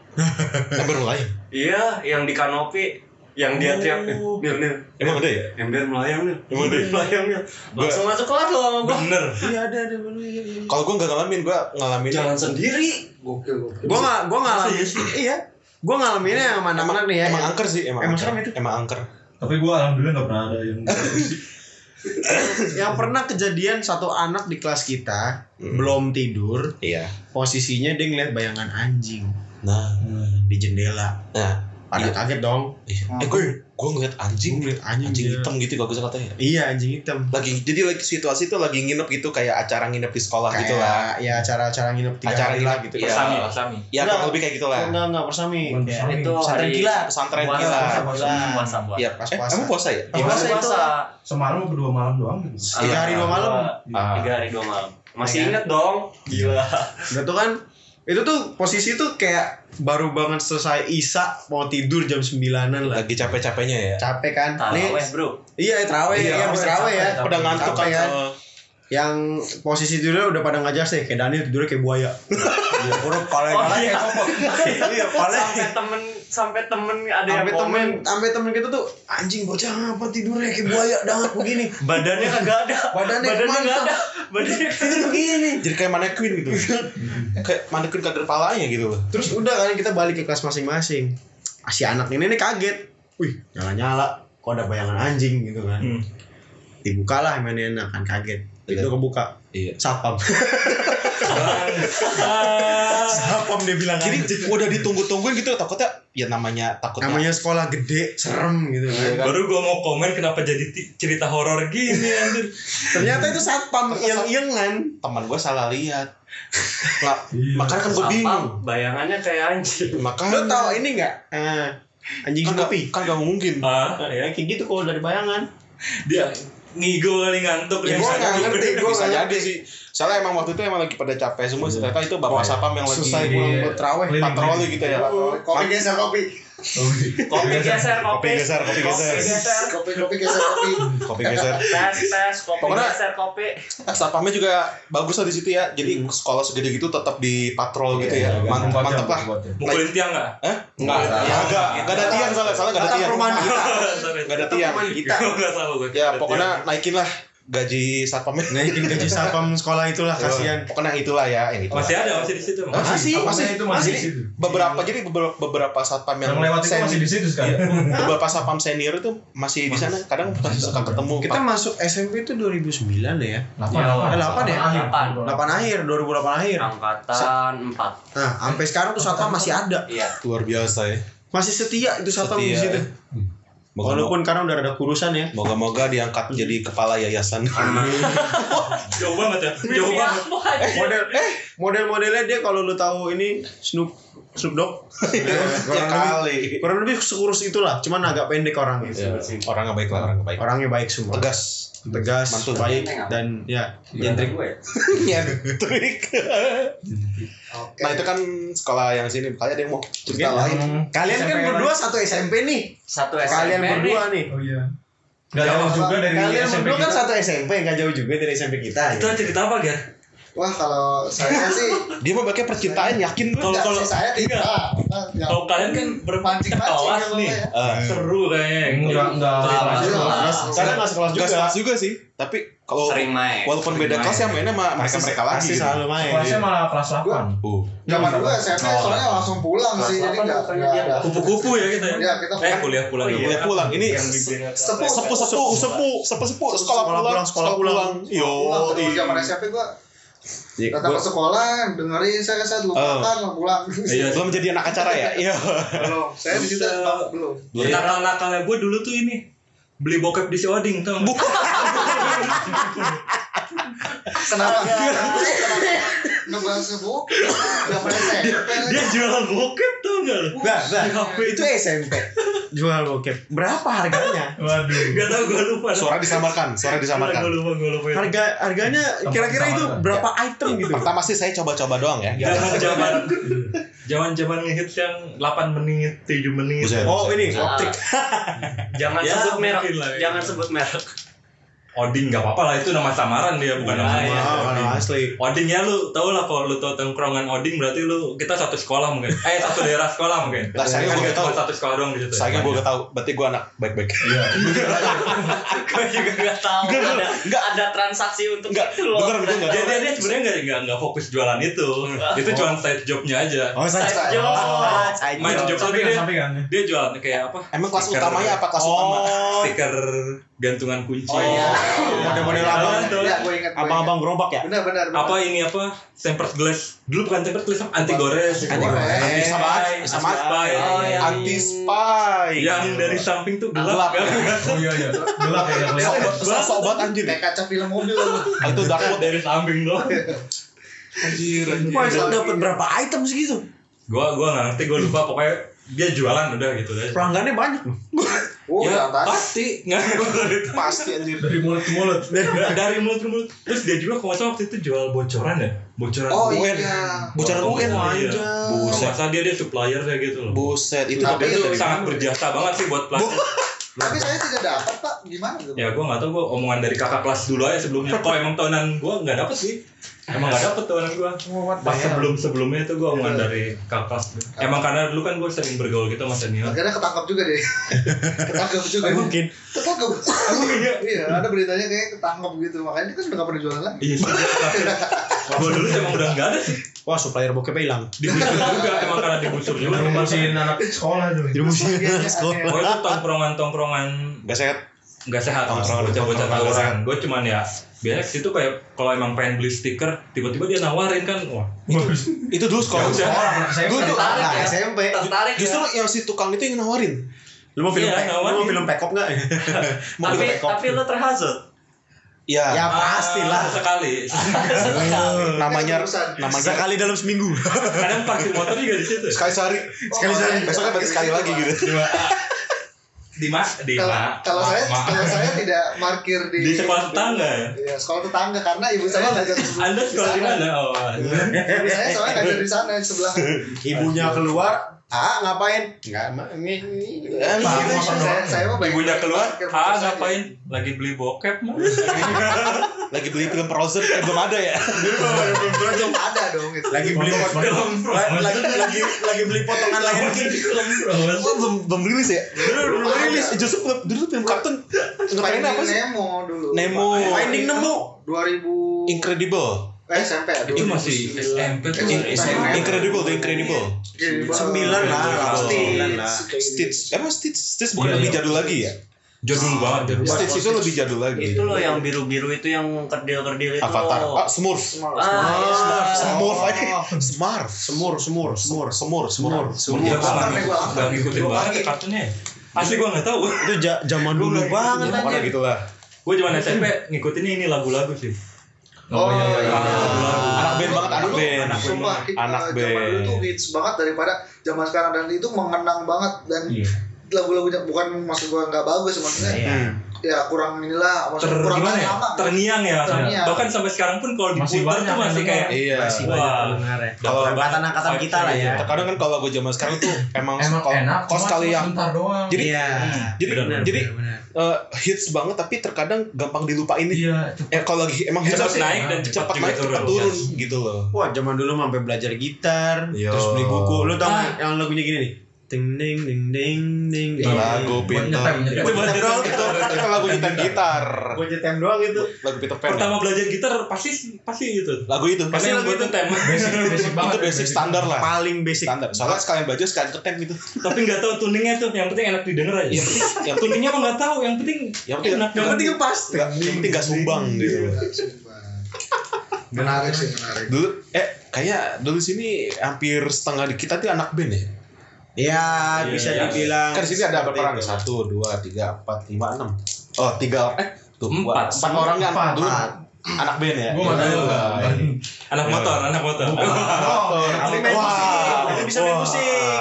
D: ember Kan mulai
F: iya yang di kanopi yang dia teriak
D: Oh. Iya.
F: nil nil
D: emang ada ya
F: ember melayang nih
D: Emang deh.
F: melayang Nil." langsung masuk kelas lo sama gua
C: Bener.
A: iya ada ada bener, iya, iya.
D: kalau gue nggak ngalamin gue ngalamin
F: jalan sendiri
B: Gokil gokil.
A: gua nggak gua ngalamin iya gua ngalaminnya yang
D: emang,
A: mana-mana nih ya
D: emang angker kan sih emang,
A: Emang
D: angker.
A: serem itu.
D: emang angker
E: Tapi gua alhamdulillah nggak pernah ada yang
A: yang pernah kejadian satu anak di kelas kita belum tidur
D: Hmm. iya
A: posisinya dia ngeliat bayangan anjing
D: nah
A: di jendela
D: nah
A: pada kaget dong
D: iya.
B: Hmm.
D: eh gue gue ngeliat
A: anjing
F: Iya.
D: anjing
A: ngeliat anjing,
D: anjing
A: dia.
D: hitam gitu kalau gue katanya
A: iya anjing hitam
D: lagi jadi lagi situasi itu lagi nginep gitu kayak acara nginep di sekolah
A: kayak
D: gitu lah
A: ya acara-acara nginep tiga
D: Acara
A: hari
D: nginep,
A: lah gitu
D: Iya.
C: Sami, sami.
D: ya kurang lebih kayak gitulah
A: enggak enggak persami
E: Persami.
F: itu
A: pesantren
F: hari
A: kilat
D: pesantren
F: puasa
D: gila
A: puasa.
F: puasa puasa
D: ya
A: Pas
D: eh,
A: puasa.
D: kamu puasa ya
A: Iya,
F: Pas
A: puasa itu
F: puasa
E: Semalam apa dua malam doang gitu.
A: tiga
D: Iya.
A: hari dua malam
D: Ah.
F: tiga hari dua malam
A: Iya.
F: masih inget dong gila
A: udah tuh kan itu tuh posisi tuh kayak baru banget selesai isak mau tidur jam sembilanan lah
D: lagi capek-capeknya ya
A: capek kan nih
F: taraweh bro
A: iya terawih
D: Iya,
A: iya habis terawih ya
E: capek.
D: udah ngantuk
A: Capek
D: kan
A: ya.
D: eh,
A: yang posisi tidurnya udah pada ngajar sih kayak Daniel tidurnya kayak buaya Iya, urut paling
F: Oh, iya.
A: iya paling
F: sampai temen sampai temen ada yang
A: sampai temen
F: komen
A: sampai temen kita tuh anjing bocah apa tidurnya kayak buaya banget begini
F: badannya kagak ada
A: Badannya
F: nggak
A: mantap.
F: ada badannya
A: tidur begini
D: jadi kayak mannequin gitu kayak mannequin kagak kepalanya gitu loh
A: terus udah kan kita balik ke kelas masing-masing Ah, si anak ini nih kaget wih nyala nyala kok ada bayangan anjing gitu kan
C: Hmm.
A: dibukalah mainnya enak kan kaget itu
D: Bener.
A: kebuka
D: iya
A: sapam
D: Iya.
A: sapam dia bilang
D: jadi
A: anjing.
D: udah ditunggu-tungguin gitu takutnya ya namanya Iya. takutnya
A: namanya sekolah gede serem gitu kan
C: Baru gua mau komen kenapa jadi ti- cerita horor gini anjir.
D: Iya.
A: ternyata itu satpam yang iya kan. iengan
D: teman gue salah lihat
E: Iya.
D: Makanya kan gue
F: Sampah,
D: bingung.
F: bayangannya kayak anjing
D: Makanya.
A: Lu tau ini nggak? Eh, anjing
D: Kan nggak-
A: Snoopy.
D: Kan nggak mungkin.
F: ah
A: Ya kayak gitu kalau dari bayangan.
C: dia ngigo kali ngantuk
D: Ya, gue
C: dia bisa
D: nggak
C: tidur.
D: ngerti, gue nggak jadi sih. Soalnya emang waktu itu emang lagi pada capek semua.
E: Iya.
D: Ternyata itu bapak sapam yang lagi Iya.
E: Selesai pulang bertraweh.
D: patroli gitu
B: Iya,
D: ya.
A: Kopi geser kopi.
E: Iya.
A: Iya.
F: kopi geser
D: Kopi
F: kopi
D: geser, kopi geser,
F: geser
B: kopi kopi geser kopi
D: kopi geser.
F: tes tes kopi
D: Pokoknya-
F: geser kopi
D: Satpamnya Eh, juga bagus lah di situ ya. Jadi sekolah segitu gitu tetap dipatrol gitu
E: iya,
D: ya. Mant- Mantep lah.
C: mukulin tiang nggak
D: Eh? Enggak,
C: Enggak.
D: ya, enggak, enggak ada tiang soalnya, soalnya enggak ada tiang. Ya,
A: perumahan kita.
C: Sorry.
D: Enggak ada tiang.
A: kita.
C: Gua nggak tahu gua.
D: Ya, pokoknya naikin lah gaji satpamnya.
A: Naikin gaji satpam sekolah itulah
D: Kasihan.
A: kasihan.
D: Pokoknya itulah ya, yang itu.
C: masih ada masih di situ
D: Hah? Masih, masih,
E: itu masih
D: masih.
E: di situ.
D: Beberapa jadi beberapa, beberapa satpam yang,
E: Yang lewat itu
D: sen-
E: masih di situ
D: Iya,
E: sekarang.
D: beberapa satpam senior itu masih di sana, kadang masih suka ketemu.
A: Kita masuk SMP itu 2009 ya.
E: Delapan.
A: Delapan ya?
F: Delapan.
A: 8 akhir, 2008 akhir.
F: angkatan empat
A: Nah, sampai sekarang tuh satpam masih ada.
F: iya
D: luar biasa ya.
A: Masih setia itu satpam di situ.
D: Setia. iya. Moga-
A: Walaupun karena udah ada kurusan ya.
D: Moga-moga diangkat jadi kepala yayasan.
C: jauh banget ya jauh
F: Iya,
C: banget
A: Model eh model-modelnya dia kalau lu tahu ini Snoop Snoop Dogg.
D: ya
A: kurang, lebih,
D: kali.
A: kurang lebih sekurus itulah, cuman agak pendek orangnya.
D: Ya, orang yang baik lah, orang yang baik.
A: Orangnya baik semua.
D: Tegas.
A: Tegas,
D: Mantul.
A: baik dan ya jentrik.
F: gue
D: Nyentrik.
B: oke
D: Nah itu kan sekolah yang sini, makanya ada yang mau cerita
A: Mungkin.
D: lain.
A: Kalian kan
E: SMP
A: berdua satu SMP nih.
F: satu SMP
A: Kalian berdua nih.
E: Oh iya. Gak jauh
B: Jauh
E: juga
B: banget.
E: dari
A: Kalian
E: SMP
A: berdua kan
E: kita.
A: satu SMP, nggak jauh juga dari SMP kita.
C: itu
A: Ya.
C: cerita apa Ger?
B: wah kalau saya sih
D: Dia mau pakai percintaan yakin
C: Kalau-
B: nggak
C: kalau-
B: sih, saya tidak
C: enggak.
B: Ah, nggak.
C: kalau kalian kan berpancing
B: Mancing-mancing ya,
C: kelas
B: kalau
C: nih
B: saya.
D: Eh,
C: seru kayaknya
E: Enggak, enggak.
B: Iya,
F: Kelas.
E: Kelas.
A: Kelas, karena nggak sekelas
D: Gak
A: juga.
D: sekelas juga sih, tapi kalau
F: sering main
D: walaupun beda kelas ya, yang mainnya sama mereka-mereka lagi.
A: Pasti
D: gitu.
A: selalu main.
E: Kelasnya malah kelas 8.
D: Uh,
B: zaman dulu ya, SMP soalnya langsung pulang sih jadi nggak nggak ada
C: kupu-kupu ya kita ya
B: ya kita
C: eh kuliah pulang
D: Iya. Kuliah pulang, ini
B: sepuh
D: sepu sepu sepu sepu sepu sekolah
A: Sekolah pulang,
D: pulang
A: sekolah
D: yo
B: pulang
D: iya.
B: Waktu
A: Oh,
B: zaman SMP gua
D: Iya,
B: datang
D: gua-
B: ke sekolah dengerin saya saya lupakan pulang
D: Iya, belum jadi anak acara ya iya
B: belum saya di situ
C: Belum.
B: belum
D: Belum.
C: nakal nakalnya gue dulu tuh ini beli bokep di si Oding tuh
D: bukan
B: kenapa ngebahas sibuk zaman SMP
C: dia jual bokep tuh nggak lo
A: Nah, nah,
C: Di HP
A: itu SMP. Jual bokep. Berapa harganya?
E: Waduh.
C: nggak tau gue lupa
D: suara disamarkan suara
C: gue
D: disamarkan Iya.
C: lupa gue lupa itu.
A: Harga harganya kira-kira itu berapa item gitu?
D: pertama sih saya coba-coba doang ya
C: zaman zaman zaman zaman ngehit yang 8 menit 7 menit
D: Buset.
A: Oh, ini
F: Ah.
D: Iya.
A: optik.
F: jangan
C: Ya,
F: sebut merek
C: mungkin lah, ya.
F: jangan sebut merek
C: Odin nggak apa-apa lah itu nama samaran dia bukan nama
F: Nah,
A: Wah,
F: iya.
A: orang
C: Odin.
A: asli.
C: Odin ya lu tau lah kalau lu tau tongkrongan Odin berarti lu kita satu sekolah mungkin eh satu daerah sekolah mungkin
D: Lah, saya
C: Kan
D: juga
C: kita
D: tahu.
C: cuma satu sekolah doang di situ Iya.
D: saya gue gak tahu berarti gue anak baik-baik
F: gue juga nggak tahu ada ada transaksi untuk
D: Nggak,
F: itu loh
D: beneran, gua nggak
C: jadi dia sebenarnya nggak nggak nggak fokus jualan itu itu cuma side jobnya aja
A: Oh, saya
F: Side job.
A: Oh, side
C: Main
A: job.
C: job.
E: Sampingan, sampingan.
C: dia jualan kayak apa
D: emang kelas
C: Stiker.
D: utamanya apa kelas utama
A: Oh,
C: stiker gantungan kunci
B: oh iya
A: model-model
C: Iya,
A: abang.
C: tuh.
B: ya gue ingat gua
A: Abang-abang gerobak ya?
B: ingat. benar benar benar.
C: apa ini apa tempered glass dulu bukan tempered glass apa? anti gores
B: Anti gores.
C: Anti
D: Sama-
C: spy.
D: sama-
C: Anti spy.
F: Oh, iya.
D: anti spy
C: yang dari samping tuh gelap
D: Gelap,
C: kan
E: Oh iya iya. Gelap ya gelap.
D: sobat anjir
B: kayak kaca film mobil
D: Ah, itu dark mode
C: dari samping doang
D: anjir anjir.
A: Wah, itu dapat berapa item
D: gitu?
A: segitu?
C: gua gua nggak ngerti gua lupa pokoknya dia jualan udah gitu aja
A: Pelanggannya banyak loh.
B: oh
C: ya
B: yang atas
C: pasti nggak
D: pasti anjir
E: Dari mulut ke mulut.
C: Nggak, dari mulut ke mulut terus dia juga kalau nggak salah waktu itu jual bocoran ya bocoran
B: oh
D: UN.
B: iya
D: bocoran UN
C: aja
D: Buset.
C: buset dia dia supplier ya gitu loh
D: buset itu
C: tapi
B: Tapi
C: itu
B: dari
C: sangat berjasa banget sih buat pelajar
B: tapi saya tidak dapat pak gimana tuh
C: ya gue nggak tahu gue omongan dari kakak kelas dulu aja sebelumnya kok emang tahunan gue nggak dapet sih emang nggak dapet tahunan gue pas sebelum sebelumnya itu gue omongan dari kakak kelas dulu. emang karena dulu kan gue sering bergaul gitu sama senior
B: akhirnya ketangkap juga deh ketangkap juga
A: Mungkin.
B: ketangkap
C: iya.
B: iya ada beritanya kayak ketangkap gitu makanya dia kan sudah gak pernah jualan lagi
C: iya gue dulu emang udah nggak ada sih
A: Wah, supplier bokepnya hilang.
C: digusur juga emang karena digusur juga
E: Belum ngurusin anak sekolah dulu.
A: Jadi mesti
B: Bagiannya
A: sekolah.
C: gue tuh tongkrongan tongkrongan
D: gak sehat
C: nggak sehat
D: Tongkrongan-
C: bocah-bocah
D: tongkrongan nggak
C: tawuran gue cuman ya biasanya ke situ kayak kalau emang pengen beli stiker tiba-tiba dia nawarin kan wah
D: itu dulu sekolah
C: Ya udah.
E: Saya kan.
D: Dulu tuh-
F: tertarik
A: Nah,
F: ya
A: SMP.
F: tertarik ya.
D: justru yang si tukang itu yang nawarin
A: Lu mau film
C: Iya,
A: pek- lu mau
C: nawarin.
A: film pekop enggak?
F: tapi tapi lo terhasut
D: Iya.
A: Ya pastilah.
C: Ah, sekali.
D: Namanya namanya
A: Sekali dalam seminggu.
C: Kadang parkir motor juga di situ.
D: sekali sehari.
A: Oh, Sekali
B: Oh,
A: sehari.
B: iya.
D: Besoknya berarti sekali lagi gitu.
C: Di ma, di
B: Kalau
C: ma.
B: kalau saya
C: Iya, ma- ma-
B: kalau saya tidak parkir di
C: di sekolah tetangga ya.
B: Iya, sekolah tetangga karena ibu saya ngajar di
C: Anda sekolah di mana? Oh,
B: Ibu saya soalnya ngajar di sana di sebelah.
A: Ibunya keluar, ah ngapain? Enggak, ma- ini. ini.
D: Eh,
B: Gitu,
D: gitu.
B: saya, saya mau bayangin
C: ibunya keluar.
B: parkir motor Iya, saya.
C: Ah,
B: Iya.
C: ngapain? Lagi beli bokep mah.
D: Lagi beli film Frozen eh, belum ada ya.
B: Belum ada dong gitu. itu.
A: Lagi beli
C: Belum,
A: potong. la- Lagi lagi lagi beli potongan lain.
D: Oh, belum belum rilis ya?
B: Belum
D: Belum
B: ada.
D: rilis. Eh, Justru film- dulu film kartun
B: Finding
D: ngapain apa sih?
B: Nemo dulu.
D: Nemo.
A: Finding Nemo.
B: 2000
D: Incredible.
B: eh, SMP ya.
C: Itu Iya, masih SMP tuh.
B: Itu SMP.
D: Incredible, The Incredible.
A: Sembilan lah, sembilan lah.
B: gitu.
D: Stitch. Emang Stitch Stitch bukan lebih jadul lagi ya?
C: Jadul banget. jadul.
D: Stitch itu lebih jadul lagi.
F: Itu loh yang biru-biru itu yang kerdil-kerdil itu.
D: Avatar.
F: loh.
D: Ah, Smurf.
F: Ah,
D: Smurf.
A: Oh.
F: iya.
D: Smurf. Smurf.
A: Semur, semur, semur.
D: Smurf. Smurf. Smurf.
A: Semur. Semur.
C: Iya, gua nggak
B: Warnanya gua
C: ngikutin-
B: apa?
C: nggak ngikutin
B: Dua
C: banget
B: kali.
C: kartunya. ya. Asli gua nggak tahu.
A: Itu ja- zaman dulu banget
D: Ya, pokoknya
A: anjir.
D: gitu lah.
C: Gua
B: Iya.
C: cuma SMP ngikutinnya ini lagu-lagu sih.
E: Oh iya iya. iya.
D: Anak band banget, anak
B: Dulu,
D: band.
B: Sumpah, kita
D: Anak
B: zaman dulu
D: band.
B: tuh hits banget daripada zaman sekarang dan itu mengenang banget dan
E: Iya.
B: lagu-lagunya bukan maksud gua nggak
A: Iya.
B: bagus maksudnya
D: Hmm.
B: ya kurang inilah
C: Ter,
B: maksudnya kurang gitu.
C: gimana ya?
B: lama.
C: Terngiang ya.
B: Terngiang.
C: Bahkan sampai sekarang pun kalau
E: Masih
C: diputar
E: banyak
C: tuh masih
E: yang
C: kayak
D: Iya.
C: Wah.
A: Kalau
C: Dapat banget
A: angkatan-angkatan kita lah ya.
D: Terkadang kan kalau gue zaman sekarang tuh emang,
E: Emang
D: kalau-
E: enak.
D: kalau
E: cuma
D: sekali yang
E: Sebentar doang.
D: Jadi-
A: Iya.
D: jadi
C: Benar,
D: jadi ya. eh, hits banget tapi terkadang gampang dilupain nih.
E: Iya. cepet.
D: Eh kalau lagi emang hits
C: Cepat
D: sih
C: naik dan cepat
D: cepat
C: juga
D: naik cepat
C: turun.
D: turun gitu loh.
A: Wah, zaman dulu mah sampai belajar gitar,
D: Yo.
A: terus beli buku. Lu tau
C: Ah.
A: nggak yang lagunya gini nih? Ting ding ding ding ding. ding.
D: Lagu
E: Buat
D: Peter.
E: nyetem, nyetem.
C: Itu buat
D: Peter
C: nyetem
D: itu
A: kan
D: itu lagu nyetem gitar.
A: Gua nyetem doang itu.
D: Lagu Peter Pan.
C: Pertama belajar gitar pasti pasti gitu.
D: Lagu itu.
A: Pasti
C: Pasti lagu
A: lagu
C: itu tem.
E: Basic basic banget.
D: Itu basic standar lah.
A: Paling basic.
D: Standar. Soalnya sekalian baju sekalian ketem gitu.
C: Tapi nggak tahu tuningnya tuh. Iya, Yang penting enak didengar
A: Iya,
C: aja.
D: Yang penting yang penting
C: Tuningnya apa nggak tahu. Yang penting
D: Iya. yang penting
C: enak.
A: Yang penting pas.
D: nggak- yang penting nggak sumbang gitu.
B: Menarik sih menarik.
D: Dulu eh kayak dulu sini hampir setengah di kita tuh anak band ya.
A: Ya,
C: Iya,
A: bisa
C: iya.
A: dibilang.
D: Kan di sini ada berapa
A: seperti
D: orang?
A: itu.
D: Satu, dua, tiga, empat, lima, enam. Oh, tiga eh tuh
C: Empat.
D: empat orang yang
E: Empat.
D: dulu anak band ya.
E: Gue nggak tahu.
D: Iya.
C: Anak motor, anak motor. Oh,
D: Motor.
A: Aku main
D: Wah.
A: musik, aku bisa main
D: Wah.
A: musik.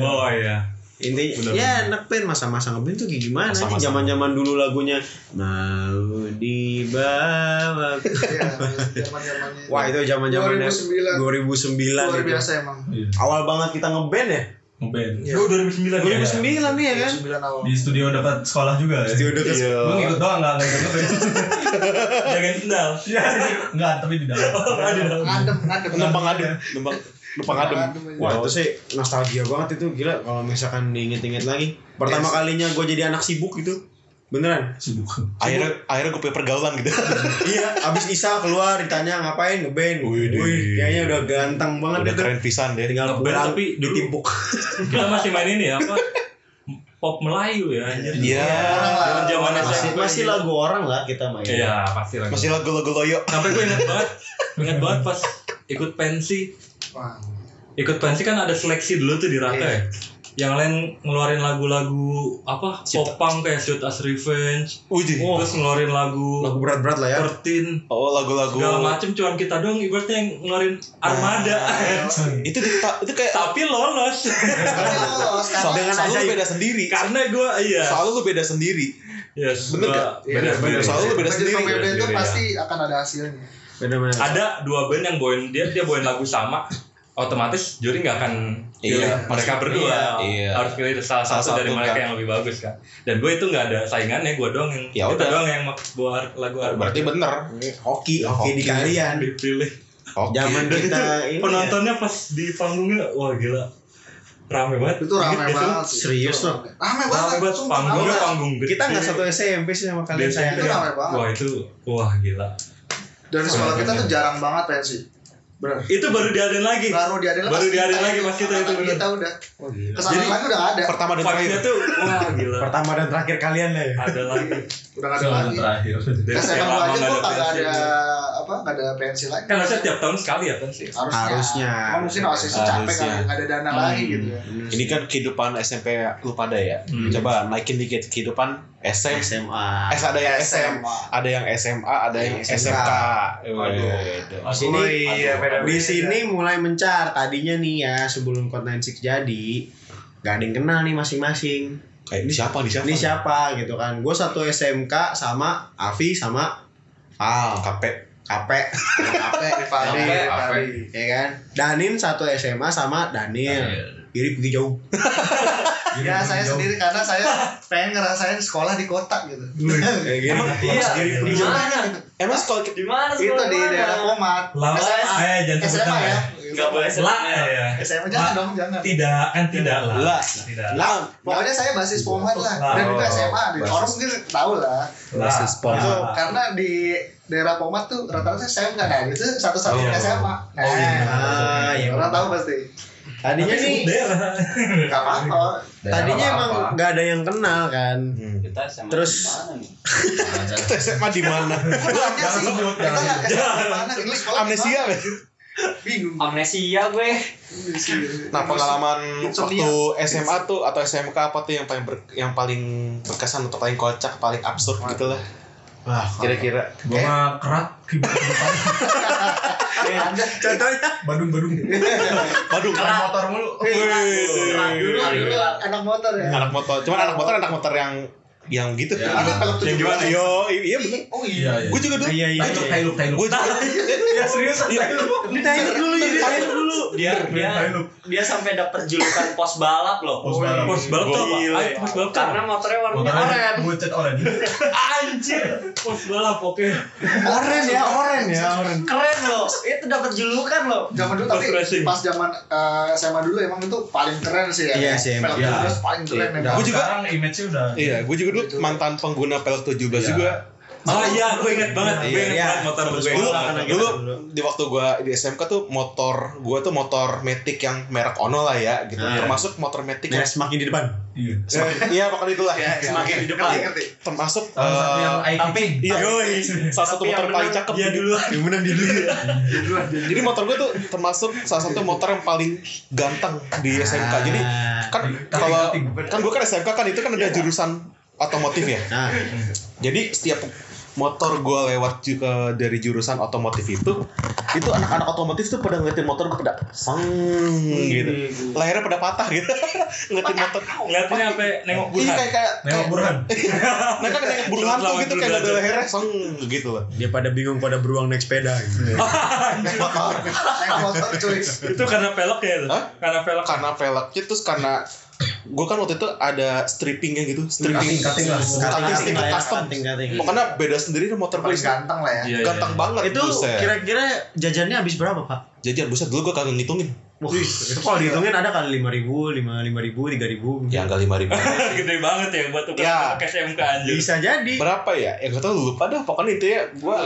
C: Oh iya.
A: Intinya
D: Bener,
A: ya anak band masa-masa ngeband tuh kayak gimana sih
D: Masa-masa.
A: zaman-zaman dulu lagunya mau dibawa.
B: Iya, zaman-zamannya.
A: Wah, itu zaman-zamannya
B: 2009.
A: 2009
B: Luar
A: itu.
B: biasa emang.
E: Iya.
A: Awal banget kita ngeband ya.
E: Ngeband.
C: Oh
D: Iya.
C: 2009 ya.
A: 2009 nih ya kan.
B: 2009 awal.
E: Di studio dekat sekolah juga ya.
A: Studio dekat
D: Iya.
E: Gue ngikut doang nggak nggak ikut ngeband.
C: Jangan sendal.
E: Iya. Nggak tapi di dalam.
B: Ngadem, ngadem.
D: Numpang adem, numpang numpang adem.
B: Numpang adem aja.
A: Iya. Wah itu sih nostalgia banget itu gila kalau misalkan diinget-inget lagi. Pertama
B: Yes.
A: kalinya gue jadi anak sibuk gitu. Beneran?
E: Sibuk.
D: Akhirnya akhirnya gue punya pergaulan gitu.
A: iya, abis Isa keluar ditanya ngapain ngeband.
D: Wih,
A: Wih, kayaknya udah ganteng banget
D: Udah
A: itu.
D: keren pisan deh.
A: Tinggal
C: Ngeband
A: pulang
C: tapi dulu-
A: ditimpuk.
C: Kita masih main ini apa? Pop Melayu ya anjir.
D: Iya.
C: Zaman-zaman
A: Masih,
C: SMP.
A: masih lagu orang lah kita main.
C: Iya, pasti lah.
D: Masih lagu-lagu loyo.
C: Sampai gue ingat banget, ingat banget pas ikut pensi.
B: Wah.
C: Ikut pensi kan ada seleksi dulu tuh di Rata ya. Yang lain ngeluarin lagu-lagu apa?
D: Cipta-
C: Popang kayak Shoot Us Revenge.
D: Uji.
C: Terus ngeluarin lagu
A: Lagu berat-berat lah ya.
C: 13
D: Oh lagu-lagu.
C: segala macem cuman kita dong ibaratnya yang ngeluarin armada.
D: Nah. Itu di- ta- itu kayak
C: Tapi lolos.
B: Tapi lolos
D: so-
B: karena
A: Nah, dengan
D: selalu lu
A: ajaib.
D: beda sendiri.
C: Karena gue iya.
D: Selalu lu beda sendiri.
C: Yes,
D: Bener
C: gua-
D: gak?
C: Bener,
D: Bener,
C: bener.
D: Selalu lu beda
B: menjadi
D: sendiri.
B: pemimpin itu
C: Beda-beda, ya.
B: kan pasti akan ada hasilnya.
A: Bener-bener.
C: Ada dua band yang bawain dia dia bawain lagu sama otomatis juri nggak akan pilih
D: Iya,
C: mereka berdua
D: Iya.
C: harus pilih salah
D: Salah
C: satu dari
D: satu,
C: mereka
D: kan.
C: yang lebih bagus kan dan gue itu nggak ada saingannya gue doang yang
D: Ya udah.
C: kita doang yang mak- buat lagu
D: Berarti bener.
A: Iya, Hoki,
D: Ya,
A: hoki di
D: hoki.
A: kalian.
C: dipilih
D: Oke.
A: Zaman kita ini. ya.
C: penontonnya pas di panggungnya wah gila rame banget
B: Itu ramai
C: Ingat gak
B: banget sih.
A: Serius,
B: Itu
A: loh.
B: Ramai
C: tuh?
B: banget.
C: rame banget
B: sumpah,
C: panggungnya
B: ramai.
C: panggung gede.
A: Kita
D: Iya.
A: nggak satu SMP sih sama kalian
C: Dance
A: saya.
B: Itu ramai banget.
C: wah itu wah gila
B: Dan di sekolah kita tuh jarang banget pensi. Bener.
C: itu baru diadain lagi
B: Baru diadain
C: Baru
B: pasti
C: diadain
B: kita-
C: lagi pas kita itu, bener.
B: Kita udah.
A: Oh, gila.
B: Kesana
C: Jadi-
B: lagi udah nggak ada.
D: Pertama dan
C: Vibes-nya
D: terakhir.
C: tuh wah gila
A: Pertama dan terakhir kalian lah ya.
C: ada lagi
B: Udah nggak ada
E: Selalu
B: lagi.
E: terakhir.
C: Dari
B: SMA
C: lama
B: gua aja
C: nggak
B: gua kagak
C: pensi.
B: ada apa nggak ada pensi lagi
C: Kan harusnya tiap tahun sekali ya kan sih.
B: harusnya,
A: Harusnya.
B: Cuman mungkin osis capek
D: Harusnya.
B: kali nggak ada
C: Iya.
B: dana lagi gitu ya
D: Hmm. Ini kan kehidupan SMP lu pada ya.
C: Hmm.
D: Coba naikin dikit kehidupan SM.
A: SMA.
D: S ada yang SM,
B: SMA
D: ada yang SMA, ada yang
A: SMK.
D: SMK.
A: Waduh.
D: Waduh.
A: Di Oh, sini di sini mulai mencar tadinya nih ya sebelum konten six jadi gak ada yang kenal nih masing-masing
D: Kayak ini siapa? Ini siapa?
A: ini siapa gitu kan gue satu SMK sama Avi sama Al
D: Kape.
A: Kape Kape
B: Pari
A: Kape.
B: Pari
A: ya kan Danin satu SMA sama Daniel Iri pergi jauh
B: ya
E: Iya,
B: saya sendiri karena saya pengen ngerasain sekolah di kota gitu
A: Emang
F: Iya, di mana?
D: Emang sekolah
F: Di mana
B: itu
F: sekolah
B: di
F: mana?
B: daerah Komat
E: Lama
B: SMA.
E: eh jangan
B: SMA
E: sebut nama
B: ya
E: ya.
F: Nggak boleh
E: La
F: sebut nama.
C: iya.
E: ya.
B: SMA jangan dong jangan
E: Tidak kan tidak lah.
D: La.
E: Tidak.
D: Lam.
B: pokoknya saya basis Komat lah dan juga SMA di orang mungkin tahu lah
E: Lah.
D: Basis pom.
B: Itu
E: Nah.
B: karena di daerah Pomat tuh rata-rata saya nggak ada itu satu-satunya
D: Oh.
B: SMA. Nah,
E: Oh, iya.
A: Ah, iya.
B: Orang tahu pasti.
A: tadinya
E: Tapi
C: kan
E: sebut
A: nih
E: daerah.
B: Gak apa-apa.
A: tadinya emang gak ada yang kenal kan
D: Hmm.
F: Kita SMA
A: Terus-
F: di mana nih?
D: Kita SMA di mana?
B: Tanya
E: Jangan
B: sih,
E: sebut,
B: kita
E: jangan.
B: nggak SMA di mana? Lu sekolah di
D: Amnesia. kan?
B: mana? Bingung.
F: Amnesia gue.
D: Nah pengalaman
B: Insomnia.
D: waktu SMA tuh atau SMK apa tuh yang paling ber- yang paling berkesan atau paling kocak, paling absurd gitu lah.
A: Wah,
D: Kira-kira.
E: Gua mah kerat kiblat depan
B: Anda
A: contohnya
E: badung-badung.
D: Waduh.
E: Keran motor mulu.
B: Keran dulu, dulu anak motor ya.
D: Anak motor. Cuman anak motor anak motor yang yang gitu.
A: Ya.
B: Ada pelek
D: Yang
B: tujuh
D: gimana?
B: belas.
D: Yo, i- iya bener.
B: Oh
E: Iya
B: iya.
E: iya.
D: Gue juga dulu.
A: iya iya
E: Tailuk, tailuk, tailuk.
D: Gue juga.
E: Ya serius tailuk.
A: ini tailuk dulu jadi tailuk dulu
F: Dia
E: Beneran
F: dia
E: Tailuk.
F: dia sampai dapat julukan pos balap loh.
E: Pos balap.
C: Pos balap tuh apa?
F: Gila.
C: Ay, pos balap tuh apa?
F: Karena motornya warnanya
E: Motornya
F: oranye.
E: bucet orange.
F: Anjir, pos balap oke.
A: oren ya oren ya oren
F: Keren loh. Itu dapat julukan loh.
B: Zaman dulu tapi
C: Bus racing.
B: pas zaman eh, SMA dulu emang itu paling keren sih ya.
A: Iya sih, emang.
B: Pelek tujuh
E: Iya.
B: belas paling keren
A: Iya.
B: emang.
D: Gua juga-
E: Sekarang image-nya udah.
D: Iya, gue juga dulu mantan pengguna pelek 17
E: Iya.
D: juga.
C: Oh iya, gue inget banget. Gue
D: Iya,
C: inget
A: iya.
C: banget motor gue.
D: Dulu,
A: Karena kita
D: dulu
A: dulu.
D: di waktu gua di SMK tuh motor gua tuh motor Matic yang merek Ono lah ya gitu.
A: Nah.
D: Termasuk motor Matic
A: Nah,
D: yang
A: semakin di depan
E: Iya.
D: Semakin- iya pokoknya itulah
B: Iya, iya.
F: Semakin di depan.
B: Ngerti, ngerti.
D: termasuk
E: Salah satu
D: eh,
E: yang tapi
D: iya, salah
F: Tapi
D: satu
F: yang
D: motor paling
F: menang
D: cakep
A: iya,
F: dia
D: dulu
A: yang menang dia dulu ya
B: Dia duluan, dia
D: jadi motor gua tuh termasuk salah satu motor yang paling ganteng di SMK jadi
A: Ah,
D: kan kalau kan gua kan SMK kan itu kan ada jurusan otomotif ya
A: nah
D: jadi setiap motor gua lewat ju- ke- dari jurusan otomotif itu itu anak-anak otomotif tuh pada ngeliatin motor gue pada seng gitu layarnya pada patah gitu ngeliatin motor
C: Ngeliatnya sampai nengok
D: Iya
C: bulan.
D: kayak kayak
E: Nengok buruan.
D: mereka kayak nengok burung hantu gitu kayak nggak ada lehernya seng gitu loh
A: dia pada bingung pada beruang naik sepeda gitu.
B: naik motor. Naik motor cuy.
C: Itu karena pelek ya?
D: Hah?
C: Karena pelek.
D: karena peleknya terus karena gue kan waktu itu ada strippingnya gitu stripping
E: Cutting, cutting lah.
D: cutting
A: Kating-kating lah
D: stiker
A: ya,
D: custom
A: kating-kating.
D: pokoknya beda sendiri deh motor gue
B: paling ganteng lah ya.
C: Iya, iya.
D: ganteng banget
A: itu
D: buset.
A: kira-kira jajannya habis berapa pak?
D: jajan buset dulu gue kagak ngitungin
A: Wah, itu kalau dihitungin ada kali lima ribu, lima lima ribu, tiga ribu.
D: ya nggak lima ribu
C: Gede banget ya buat tukang
D: Iya.
C: yeah. SMK anjir.
A: Bisa jadi.
D: berapa ya ya gak tau lupa dah pokoknya itu ya gue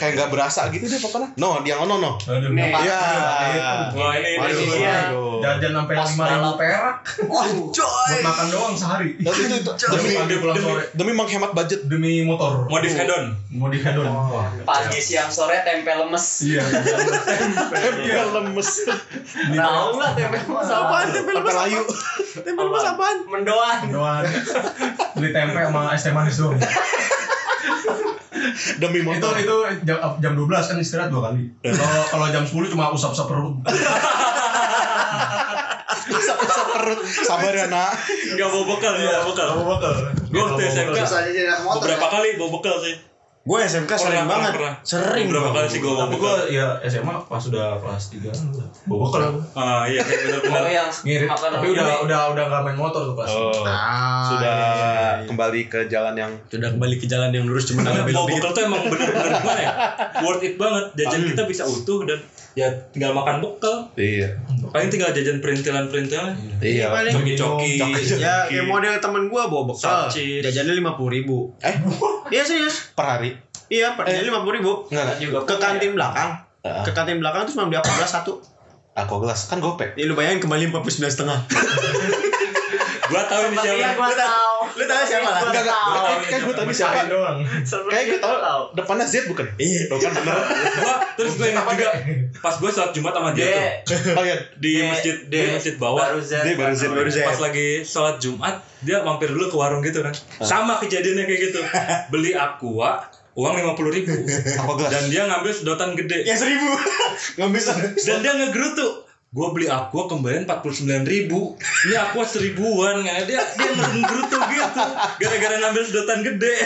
D: kayak nggak berasa gitu deh pokoknya no dia no no
E: Aduh.
F: Nih.
E: ngapain?
D: Iya.
C: Wah ini
A: Waduh,
C: ini.
F: iya.
D: Waduh.
E: Jajan sampai
F: Pas
E: lima ribu
F: balap.
E: perak
A: Oh,
E: buat makan doang sehari.
D: Dan itu, itu
E: Demi
D: demi
E: pagi pulang sore
D: demi menghemat budget
E: demi motor.
C: Modif hedon.
E: Mau di hedon.
D: Oh.
F: Pagi siang sore tempel lemes.
E: Iya.
D: Biar lemes
F: Tahu lah tempel lemes apaan?
A: apaan tempel
D: sampai
A: mas?
D: layu
A: Tempel mas apaan?
F: Mendoan.
E: Doan. Beli tempe sama es teh manis doang.
D: demi
E: itu
D: motor Eh.
E: itu jam, jam 12 kan istirahat dua kali. Kalau kalau jam 10 cuma usap-usap perut.
D: usap perut sabar ya nak
C: Gak bawa bekal, gak bawa bekal.
E: Iya. Gitu.
C: Gue waktu SMK
B: Susahnya jadi anak motor.
C: beberapa
B: ya.
C: kali bawa bekal sih.
A: Gue SMK sering
C: Pernah,
A: banget,
C: pernah.
A: sering.
C: Beberapa
A: Bang.
C: kali sih gue bawa
E: Tapi
C: bekal.
E: gua ya SMA pas udah kelas 3 bawa kalau
C: Ah iya
F: Oh
C: benar-benar.
F: yang
E: ngirit.
F: makan
E: Tapi udah udah udah nggak main motor tuh kelas.
C: Oh.
A: Ah,
D: sudah
A: iya, iya, iya.
D: kembali ke jalan yang
A: sudah kembali ke jalan yang lurus cuma
C: Karena
A: agak
C: bawa
A: belok dikit.
C: bekal tuh emang bener-bener gimana ya? Worth it banget. Jajan kita bisa utuh dan ya tinggal makan bekal.
D: iya
C: Paling tinggal jajan perintilan-perintilan.
D: iya
A: paling-
C: Coki-coki.
A: Ya, kayak model temen gue bawa bekal,
C: Sosis.
A: jajannya lima puluh ribu.
D: eh
A: Iya serius,
D: per hari Eh.
A: iya perjalanan lima puluh ribu.
D: enggak enggak
F: juga
A: Ke kantin belakang,
D: Ah.
A: ke kantin belakang tuh cuma beli apa belas satu.
D: aku gelas kan gope
A: Ya lu bayangin kembali empat puluh sembilan setengah.
C: Gua tahu ini
F: Tempatnya
C: siapa.
F: Iya, gua tahu.
A: Lu tahu siapa lah?
F: Gua
D: Enggak, enggak.
F: tahu.
D: Kayak- kayak gua tadi siapa?
E: Mecahin doang.
D: Kayak
F: Sebenarnya
D: gue
F: gua
D: tau depannya Z bukan? Iya, bukan bener.
C: Gua terus gue ingat juga pas gue sholat Jumat sama
F: D,
C: dia tuh
D: Oh iya,
C: di
F: D,
C: masjid
F: D,
C: di masjid bawah.
F: baru Z.
D: dia baru Z, baru Z.
C: Pas lagi sholat Jumat dia mampir dulu ke warung gitu kan. Sama kejadiannya kayak gitu. Beli aqua uang lima puluh ribu
D: Apa gelas?
C: dan dia ngambil sedotan gede
A: Ya seribu.
D: Nggak bisa.
C: dan dia ngegerutu gue beli aqua kembalian empat puluh sembilan ribu ini aqua seribuan nggak dia dia ngegerutu gitu gara-gara ngambil sedotan gede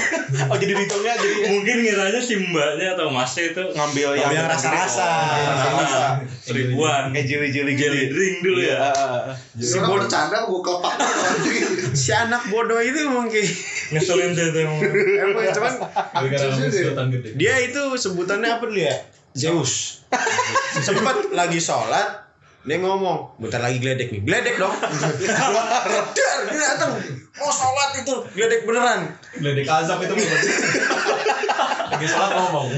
D: Oh jadi dihitungnya jadi
C: mungkin ngiranya si mbaknya atau masnya itu
D: ngambil
A: Yang,
D: yang
A: Iya, rasa-rasa.
D: Rasa-rasa.
C: seribuan
D: Kayak jeli-jeli gitu.
C: jelly drink dulu
D: Iya,
C: ya
D: ah, ah.
B: Jadi orang bercanda gue kelepak
A: Si anak bodoh itu mungkin.
C: ngeselin dia tuh emang.
A: Emang cuman
E: Gara-gara ngambil sedotan gede.
A: dia itu sebutannya apa dulu ya? Zeus. Sempat lagi sholat dia ngomong, bentar lagi geledek nih. Geledek dong. Dar, dia datang. Mau sholat itu, geledek beneran.
E: Ledek azab itu bukan. Lagi salah ngomong.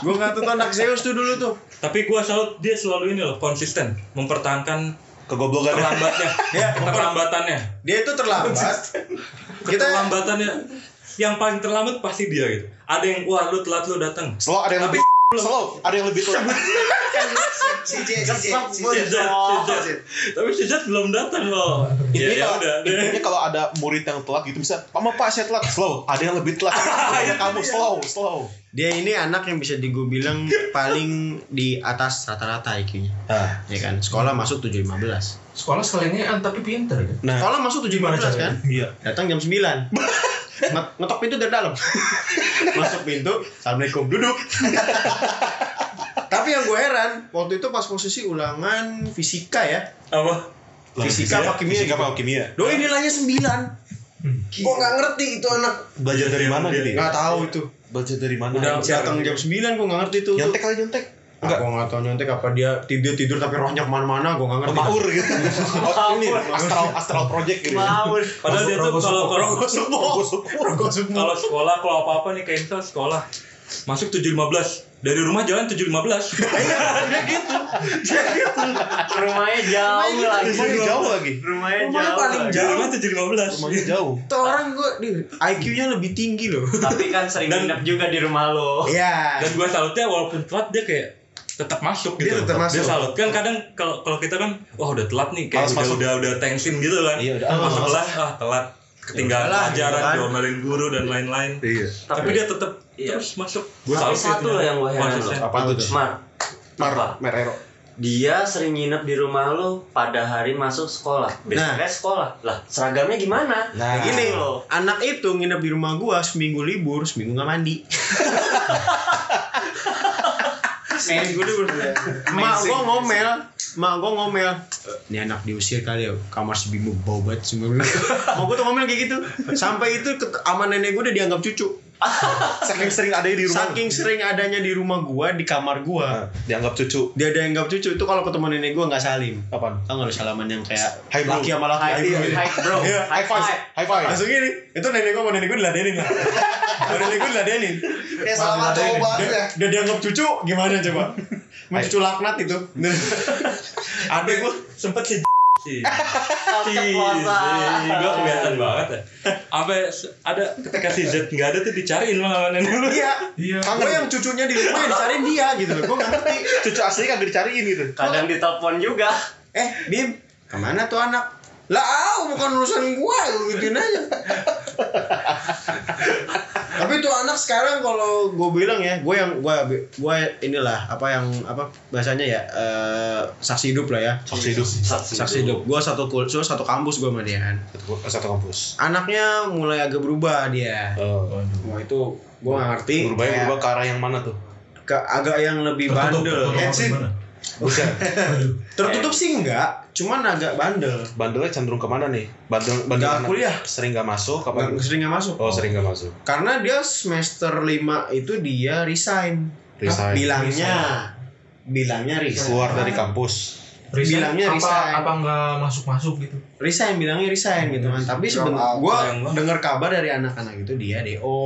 A: Gue nggak tahu tuh anak Zeus tuh dulu tuh.
C: tapi gua selalu dia selalu ini loh konsisten mempertahankan
D: Kegoblokan.
C: terlambatnya
A: Ya,
C: keterlambatannya
A: Dia itu terlambat. Kita
C: keterlambatannya yang paling terlambat pasti dia gitu ada yang wah lu telat lu datang
D: Slow ada yang lebih slow, ada yang lebih slow.
A: si J, si J, si
C: Si Zat, si
B: Oh,
C: Zat. tapi si Zat belum datang loh ya, ya
D: kalau-
C: udah
D: Intinya kalau ada murid yang telat gitu bisa, "Mama Pak, saya telat." Slow, ada yang lebih telat. Ada kamu slow, slow.
A: Dia ini anak yang bisa digo bilang paling di atas rata-rata IQ-nya.
D: Ah.
A: Ya kan? Sekolah masuk 7.15.
E: Sekolah selengean tapi pinter kan.
D: Nah,
A: Sekolah masuk 7.15 kan?
D: iya.
A: Datang jam 9. Nge- Ngetok pintu dari dalam. Masuk pintu, Assalamualaikum, duduk. Tapi yang gue heran, waktu itu pas posisi ulangan fisika ya.
C: apa
A: Fisika apa kimia
D: Fisika
A: gitu?
D: apa kimia?
A: Doi nilainya 9.
D: Hmm.
A: Gue gak ngerti itu anak.
D: Belajar dari mana gitu? ya?
A: Gak tahu itu.
D: Belajar dari mana?
C: Udah.
A: Datang jam 9 gue gak ngerti itu.
D: Nyontek kali nyontek.
A: Enggak. Gue gak tau nyontek apa dia tidur tidur tapi rohnya kemana-mana gue gak ngerti.
D: Maur gitu. Oh, ini astral astral project gitu.
F: Maul.
C: padahal dia tuh kalau kalau
D: Rogo Supo.
C: kalau sekolah kalau apa apa nih kayak misal sekolah masuk 7.15 dari rumah jalan 7.15
A: Iya.
F: Rumahnya jauh lagi.
D: Rumahnya jauh lagi.
F: Rumahnya
A: Rumahnya
F: jauh.
A: paling
F: lagi.
C: dari
A: Jauh.
C: rumah 7.15
D: Rumahnya jauh.
A: Itu orang gue IQ-nya lebih tinggi loh.
F: Tapi kan sering
C: Dan-
F: nginep juga di rumah lo.
A: Iya.
C: dan gue salutnya walaupun telat dia kayak tetap masuk
A: Dia
C: gitu
A: tetap masuk.
C: dia salut kan kadang kalau kalau kita kan wah udah telat nih kayak
D: Males
C: udah,
D: masuk.
C: udah udah tensin gitu kan
D: Iya, udah, ah,
C: masuk
D: males.
C: kelas ah telat ketinggalan
A: Yaudahlah,
C: pelajaran
A: gitu kan.
C: diomelin guru dan lain-lain
D: Iya.
C: tapi,
F: Tapi
C: dia tetap
F: Iya, Iya.
C: terus masuk
F: Tapi satu loh yang gua heran
C: Konsisten.
D: Apa tuh?
F: Mar, apa?
D: Mar Merero.
F: Dia sering nginep di rumah lo pada hari masuk sekolah.
A: Nah.
F: Besoknya sekolah. Lah, seragamnya gimana?
D: Nah.
F: Ya gini lo.
A: Anak itu nginep di rumah gua seminggu libur, seminggu nggak mandi.
B: Seminggu dulu ya.
A: Mak gua ngomel, mak gua ngomel. "Eh, Ini anak diusir kali ya, kamar si Bimo bau banget semua. Mau gua tuh ngomel kayak gitu. Sampai itu ket- sama nenek gua udah dianggap cucu.
D: Saking sering ada di rumah.
A: Saking sering adanya di rumah gua, di kamar gua.
D: Nah, dianggap cucu.
A: Dia dianggap cucu itu kalau ketemu nenek gua nggak salim.
D: Apaan?
A: Tau nggak lu salaman yang kayak
D: Hai, bro.
A: laki sama laki.
F: Hai,
A: Iya, iya.
F: hai, bro.
A: Iya,
F: High five.
D: High five.
A: Langsung gini, itu nenek gua sama nenek gua diladenin lah. Sama nenek gua diladenin.
B: Kayak salah cowok banget Eh, ya.
A: Dia, dia dianggap cucu gimana coba? Mencucu laknat itu.
C: ada gue sempet si si si
F: puasa.
C: gue kelihatan banget ya sampai se- ada ketika si Z nggak ada tuh dicariin malah sama nenek lu.
A: iya.
E: Iya.
A: Kangen yang cucunya di rumah yang dicariin dia gitu loh. Gue nggak ngerti.
D: Cucu asli kagak dicariin gitu.
F: Kadang ditelepon juga.
A: Eh, Bim, kemana tuh anak? Lah, au, bukan urusan gua, lu gituin aja. Tapi tuh anak sekarang kalau gue bilang ya, gue yang gue gue inilah apa yang apa bahasanya ya eh, saksi hidup lah ya.
D: Saksi hidup.
A: Saksi hidup. Gue satu kul, so, satu kampus gue sama dia kan.
D: Satu- Satu kampus.
A: Anaknya mulai agak berubah dia.
D: Oh.
A: Wah itu gue gak ngerti.
D: Berubahnya
A: Kayak
D: berubah ke arah yang mana tuh?
A: ke agak yang lebih
E: Tertutup,
A: bandel.
E: tertutup
A: Eh,
E: apa
A: sih,
E: gimana?
D: Bukan.
A: tertutup sih enggak, cuman agak bandel.
D: Bandelnya cenderung kemana nih? Bandel bandel
A: Gak
D: mana?
A: kuliah,
D: Sering gak masuk apa?
A: nggak sering nggak masuk.
D: Oh sering gak masuk.
A: Karena dia semester 5 itu dia resign.
D: Resign.
A: Bilangnya, bilangnya resign.
D: Keluar dari kampus.
E: Resign,
A: Bilangnya
E: apa
A: resign.
E: apa nggak masuk masuk gitu?
A: Resign, bilangnya resign gitu kan.
E: Hmm,
A: Tapi
B: Drop out.
A: sebenarnya gue
C: Sayang banget.
A: dengar kabar dari anak-anak itu dia DO.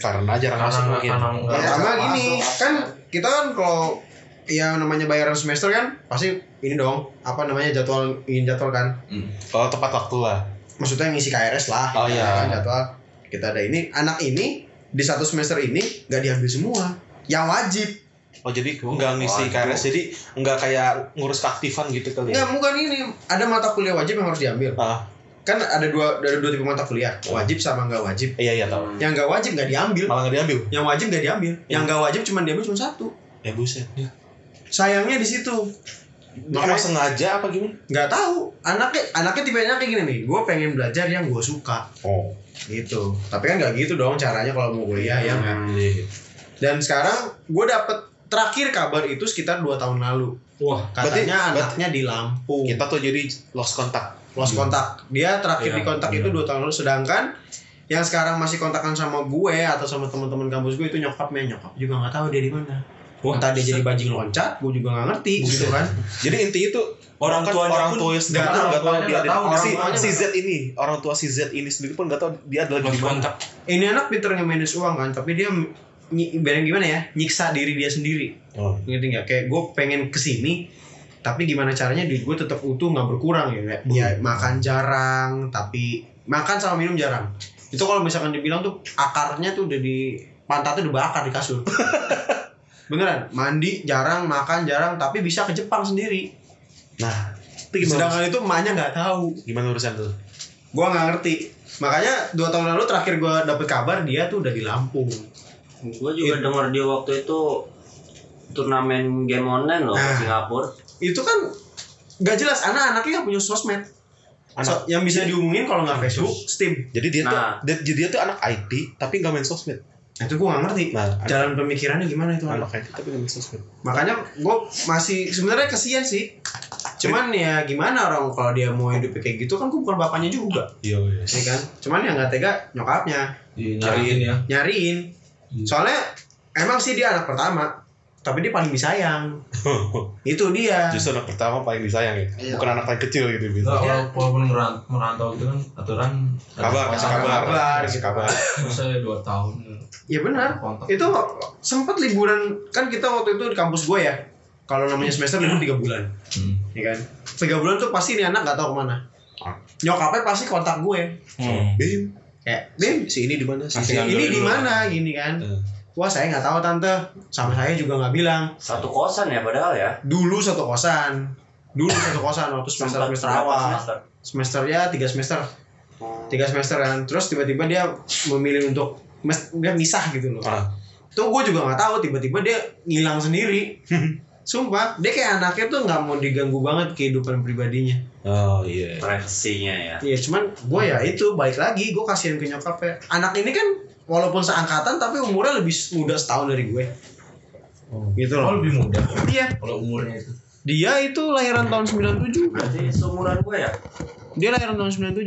D: Karena jarang
E: Karena
D: masuk mungkin.
E: karena nggak
A: Ya,
B: Iya.
A: sama
B: Masuk,
A: gini
B: masuk.
A: kan kita kan kalau ya namanya bayaran semester kan pasti ini dong apa namanya jadwal ingin jadwal kan
D: Kalau Oh, tepat waktu lah.
A: maksudnya ngisi KRS lah
D: Oh, iya.
A: kan jadwal kita ada ini anak ini di satu semester ini nggak diambil semua yang wajib
D: Oh jadi nggak ngisi
F: Waduh.
D: KRS jadi nggak kayak ngurus keaktifan gitu kali
A: nggak
D: ya?
A: bukan ini ada mata kuliah wajib yang harus diambil
D: Ah,
A: kan ada dua ada dua tipe mata kuliah wajib sama nggak wajib
D: iya iya tahu.
A: yang nggak wajib nggak diambil
D: Malah nggak diambil.
A: yang wajib nggak diambil yang nggak wajib cuma diambil cuma satu
D: Ya buset. Ya.
A: sayangnya di situ
D: Emang
A: Makanya-
D: sengaja apa gimana?
A: nggak tahu anaknya anaknya tipenya kayak gini nih gue pengen belajar yang gue suka oh gitu tapi kan nggak gitu dong caranya kalau mau kuliah
E: Iya,
A: ya nggak? dan sekarang gue dapet terakhir kabar itu sekitar dua tahun lalu
C: Wah,
D: berarti-
A: katanya
D: berarti-
A: anaknya di Lampung
D: Kita tuh jadi lost kontak.
A: lost kontak dia terakhir
C: Iya,
A: di kontak
C: iya.
A: itu dua tahun lalu sedangkan yang sekarang masih kontakan sama gue atau sama teman-teman kampus gue itu nyokapnya nyokap juga nggak tahu dia di mana
C: Wah,
A: entah dia jadi bajing loncat gue juga nggak ngerti gitu kan
D: Jadi inti itu
C: Orang
D: kan
C: tuanya
D: orang
C: pun
D: tua
A: nggak
D: sendiri
A: tahu,
D: nggak tahu
E: orang
D: dia ada
E: tuanya nggak
D: si,
E: tahu, orang
D: si Z ini orang tua si Z ini sendiri pun nggak tahu dia ada lagi di
C: lost
D: mana.
C: kontak.
A: ini anak pinter nge-manage uang kan tapi dia nyi, ibaratnya gimana ya nyiksa diri dia sendiri
D: Oh.
A: ngerti nggak kayak gue pengen kesini tapi gimana caranya duit gue tetap utuh nggak berkurang ya kayak ya makan jarang tapi makan sama minum jarang itu kalau misalkan dibilang tuh akarnya tuh udah di pantatnya udah bakar di kasur beneran mandi jarang makan jarang tapi bisa ke Jepang sendiri
D: Nah, itu gimana?
A: sedangkan itu emaknya nggak tahu
D: Gimana urusan tuh?
A: gua nggak ngerti makanya dua tahun lalu terakhir gua dapet kabar dia tuh udah di Lampung
F: Gue juga dengar dia waktu itu turnamen game online loh
A: Nah.
F: di Singapura.
A: itu kan nggak jelas anak-anaknya nggak punya sosmed So-
D: Anak-
A: yang bisa diumumin kalau nggak Facebook Steam
D: Jadi dia tuh
F: Nah.
D: dia, jadi dia tuh anak IT tapi nggak main sosmed.
A: Nah, itu gua nggak ngerti
D: Nah, anak,
A: jalan pemikirannya gimana itu anak
D: anak IT tapi nggak main sosmed.
A: makanya gua masih sebenarnya kesian sih cuman ya gimana orang kalau dia mau hidup kayak gitu kan gua bukan bapaknya juga
D: Iya iya.
A: ya kan cuman yang nggak tega nyokapnya
E: Nyariin ya.
A: nyariin soalnya emang sih dia anak pertama tapi dia paling disayang itu dia
D: Justru anak pertama paling disayang ya.
B: Iya.
D: Bukan anak paling kecil gitu gitu.
E: Nah, wala- walaupun ngeran- merantau gitu kan aturan ada
D: Kabar, kasih
E: kontak.
D: kabar.
A: kasih kabar
E: Terus saya 2 tahun
A: ya benar
E: kontak.
A: itu sempat liburan kan kita waktu itu di kampus gue ya kalau namanya semester libur tiga bulan
E: Hmm.
A: ya kan tiga bulan tuh pasti nih anak nggak tahu kemana nyokapnya pasti kontak gue
C: Hmm.
D: Bim,
A: kayak bim
D: si ini di mana sih?
C: Masih
A: si
C: ngambil
A: ini di
C: dulu.
A: mana gini kan
D: Hmm.
A: wah saya nggak tahu tante sama saya juga nggak bilang
F: Satu kosan ya padahal ya.
A: dulu satu kosan dulu satu kosan waktu semester
F: Sempat
A: semester
F: berapa
A: awal
F: semester?
A: semesternya tiga semester
F: Hmm.
A: tiga semester kan terus tiba-tiba dia memilih untuk mes- dia misah gitu loh
D: Ah.
A: itu gue juga nggak tahu tiba-tiba dia ngilang sendiri sumpah dia kayak anaknya tuh nggak mau diganggu banget kehidupan pribadinya
D: Oh iya.
F: Privasinya ya.
A: ya cuman gue ya itu balik lagi gue kasihan ke nyokapnya anak ini kan walaupun seangkatan tapi umurnya lebih muda setahun dari gue gitu
E: Oh
A: loh
E: lebih muda
A: dia
E: kalau umurnya itu.
A: dia itu lahiran tahun 97
F: Berarti seumuran gue ya.
A: dia lahiran tahun 97
E: Jadi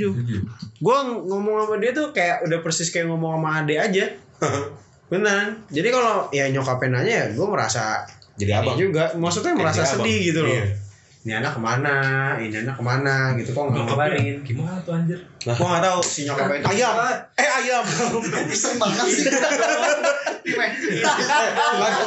A: gue ngomong sama dia tuh kayak udah persis kayak ngomong sama ade aja beneran jadi kalau ya nyokapnya nanya ya gue merasa
D: Jadi
A: ini
D: abang.
A: juga maksudnya
D: Jadi
A: merasa
D: abang.
A: sedih gitu loh
D: Iya.
A: ini anak kemana ini anak kemana gitu kok nggak ngabarin
E: gimana tuh anjir?
A: gue nggak tahu si nyokapnya itu
D: Ayam. Eh ayam.
B: Iseng banget sih.
D: lagi,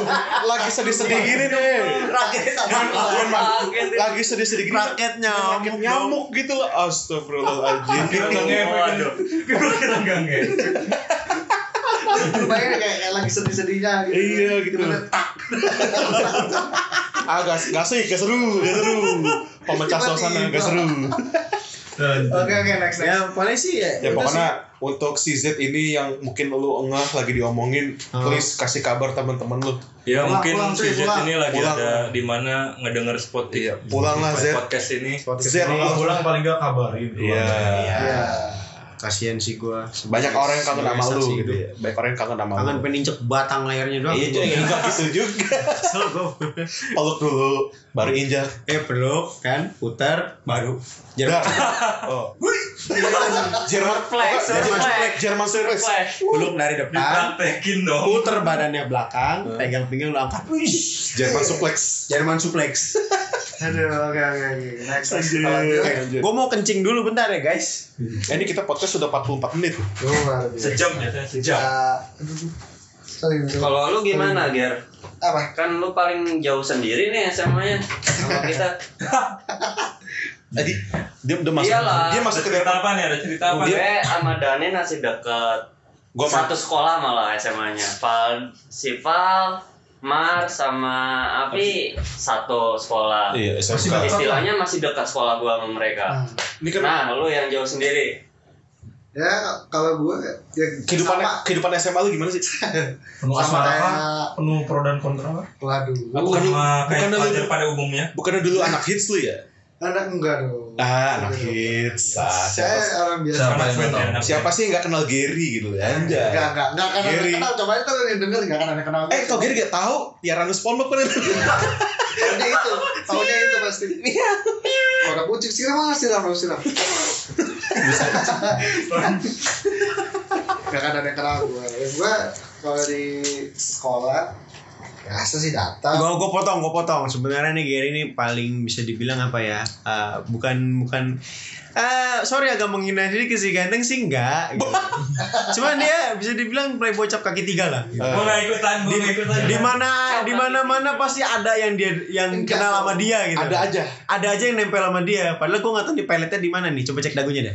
D: lagi sedih-sedih gini nih.
B: Rakyat sama
D: Lagi sedih-sedih gini.
A: raket
D: Nyamuk, nyamuk gitu loh. Astagfirullahaladzim.
C: Kira nggak ngefek bener. Kira nggak ngefek.
B: Lu bayangin kayak, kayak lagi sedih-sedihnya gitu.
D: Iya, gitu.
B: Tiba-tiba tak.
D: Ah, gas, gas sih, gak seru, gak seru. Pemecah suasana, gak seru. Ya,
B: Oke oke next next.
A: ya paling sih ya, udah
D: Ya pokoknya untuk si Z ini yang mungkin lu engah lagi diomongin,
A: Hmm.
D: please kasih kabar teman-teman lu.
C: Ya
B: Pulang,
C: mungkin
B: pulang, cuy,
C: si Z
B: pulang.
C: ini lagi
D: Pulang.
C: ada di mana ngedenger spot
D: Iya, pulanglah Z.
C: podcast ini.
A: sih, podcast ini.
D: Z.
E: Kalau nggak pulang paling nggak kabarin.
D: Iya.
A: Iya.
B: Iya.
A: kasihan sih gue
D: Banyak orang yang kangen sama lu gitu.
A: gitu
D: ya. Banyak orang yang kangen sama lu.
A: kangen peninjek batang layarnya doang
D: Iya,
A: Gua.
D: jadi enggak gitu juga.
A: Kesel gua.
D: Peluk dulu, baru injak.
A: eh peluk kan putar baru
D: Jerman. Oh. Jerman
F: Flex,
D: Jerman
F: flex.
D: Jerman Suplex.
A: peluk dari depan
C: Dipraktekin dong.
A: putar badannya belakang pegang pinggang lu angkat Wih.
D: Jerman Suplex.
A: Jerman suplex
B: Aduh oke oke oke next next. eh,
D: Anjir.
B: Lanjut.
D: Anjir.
A: gue mau kencing dulu bentar ya guys
D: Eh, ini kita podcast sudah 44 menit.
B: Luar biasa.
C: Sejam ya, sejam.
B: Ya, aduh, Sering gitu.
F: Kalau lu gimana, Ger?
B: Apa?
F: Kan lu paling jauh sendiri nih SMA-nya sama kita.
D: Tadi dia udah masuk.
F: Iyalah.
D: Dia masuk ke
C: cerita apa nih? Ada cerita apa?
F: Gue sama Dani masih deket.
D: Gua ma-
F: satu sekolah malah SMA-nya. Pal, Sival, Mar sama Api satu sekolah.
D: Iya,
E: Masih Ah.
D: SMK.
E: dekat.
F: Istilahnya masih dekat sekolah gua sama mereka.
B: Nah,
D: Ini kan
F: Nah, lu yang jauh sendiri.
B: ya kalau gue ya
D: kehidupan
B: sama,
D: kehidupan SMA lu gimana sih?
E: Penuh
B: sama
E: asmara
B: kayak
E: kah? Penuh pro dan kontra kah?
B: waduh
D: Bukan lu-
C: Sama
D: bukan
C: kayak
D: lu-
C: pelajar pada umumnya.
D: Bukannya dulu anak hits lu ya?
B: anak enggak dong
D: Ah, anak
B: Gitu.
D: hits. Ah,
B: saya
D: siapa, ya?
B: orang biasa
E: Siapa yang
C: Anak
E: tahu?
C: anak
D: siapa sih yang gak kenal Gary gitu ya? Anjay.
B: Enggak, enggak, enggak akan ada
D: Giri.
B: kenal. Coba itu yang denger enggak akan ada kenal.
D: Eh, kalau Gary gak tahu, Tiaranus Pondok kan itu.
B: Taunya itu, taunya itu pasti. Iya. Orang kucing siram ah, siram, lu siram. Enggak akan ada yang kenal gue. Ya, gue kalau di sekolah biasa sih datang.
A: Gue gue potong, gue potong. Sebenarnya nih Gary ini paling bisa dibilang apa ya? eh, bukan bukan eh sorry agak menghina sedikit sih ganteng sih enggak. Gitu. Cuman dia bisa dibilang playboy cap kaki tiga lah. Gitu.
C: Gue gak ikutan, gue gak ikutan.
A: Di mana di mana mana pasti ada yang dia yang
B: Enggak.
A: kenal sama dia gitu.
D: Ada aja.
A: Ada aja yang nempel sama dia. Padahal gue nggak tahu nih peletnya di mana nih. Coba cek dagunya deh.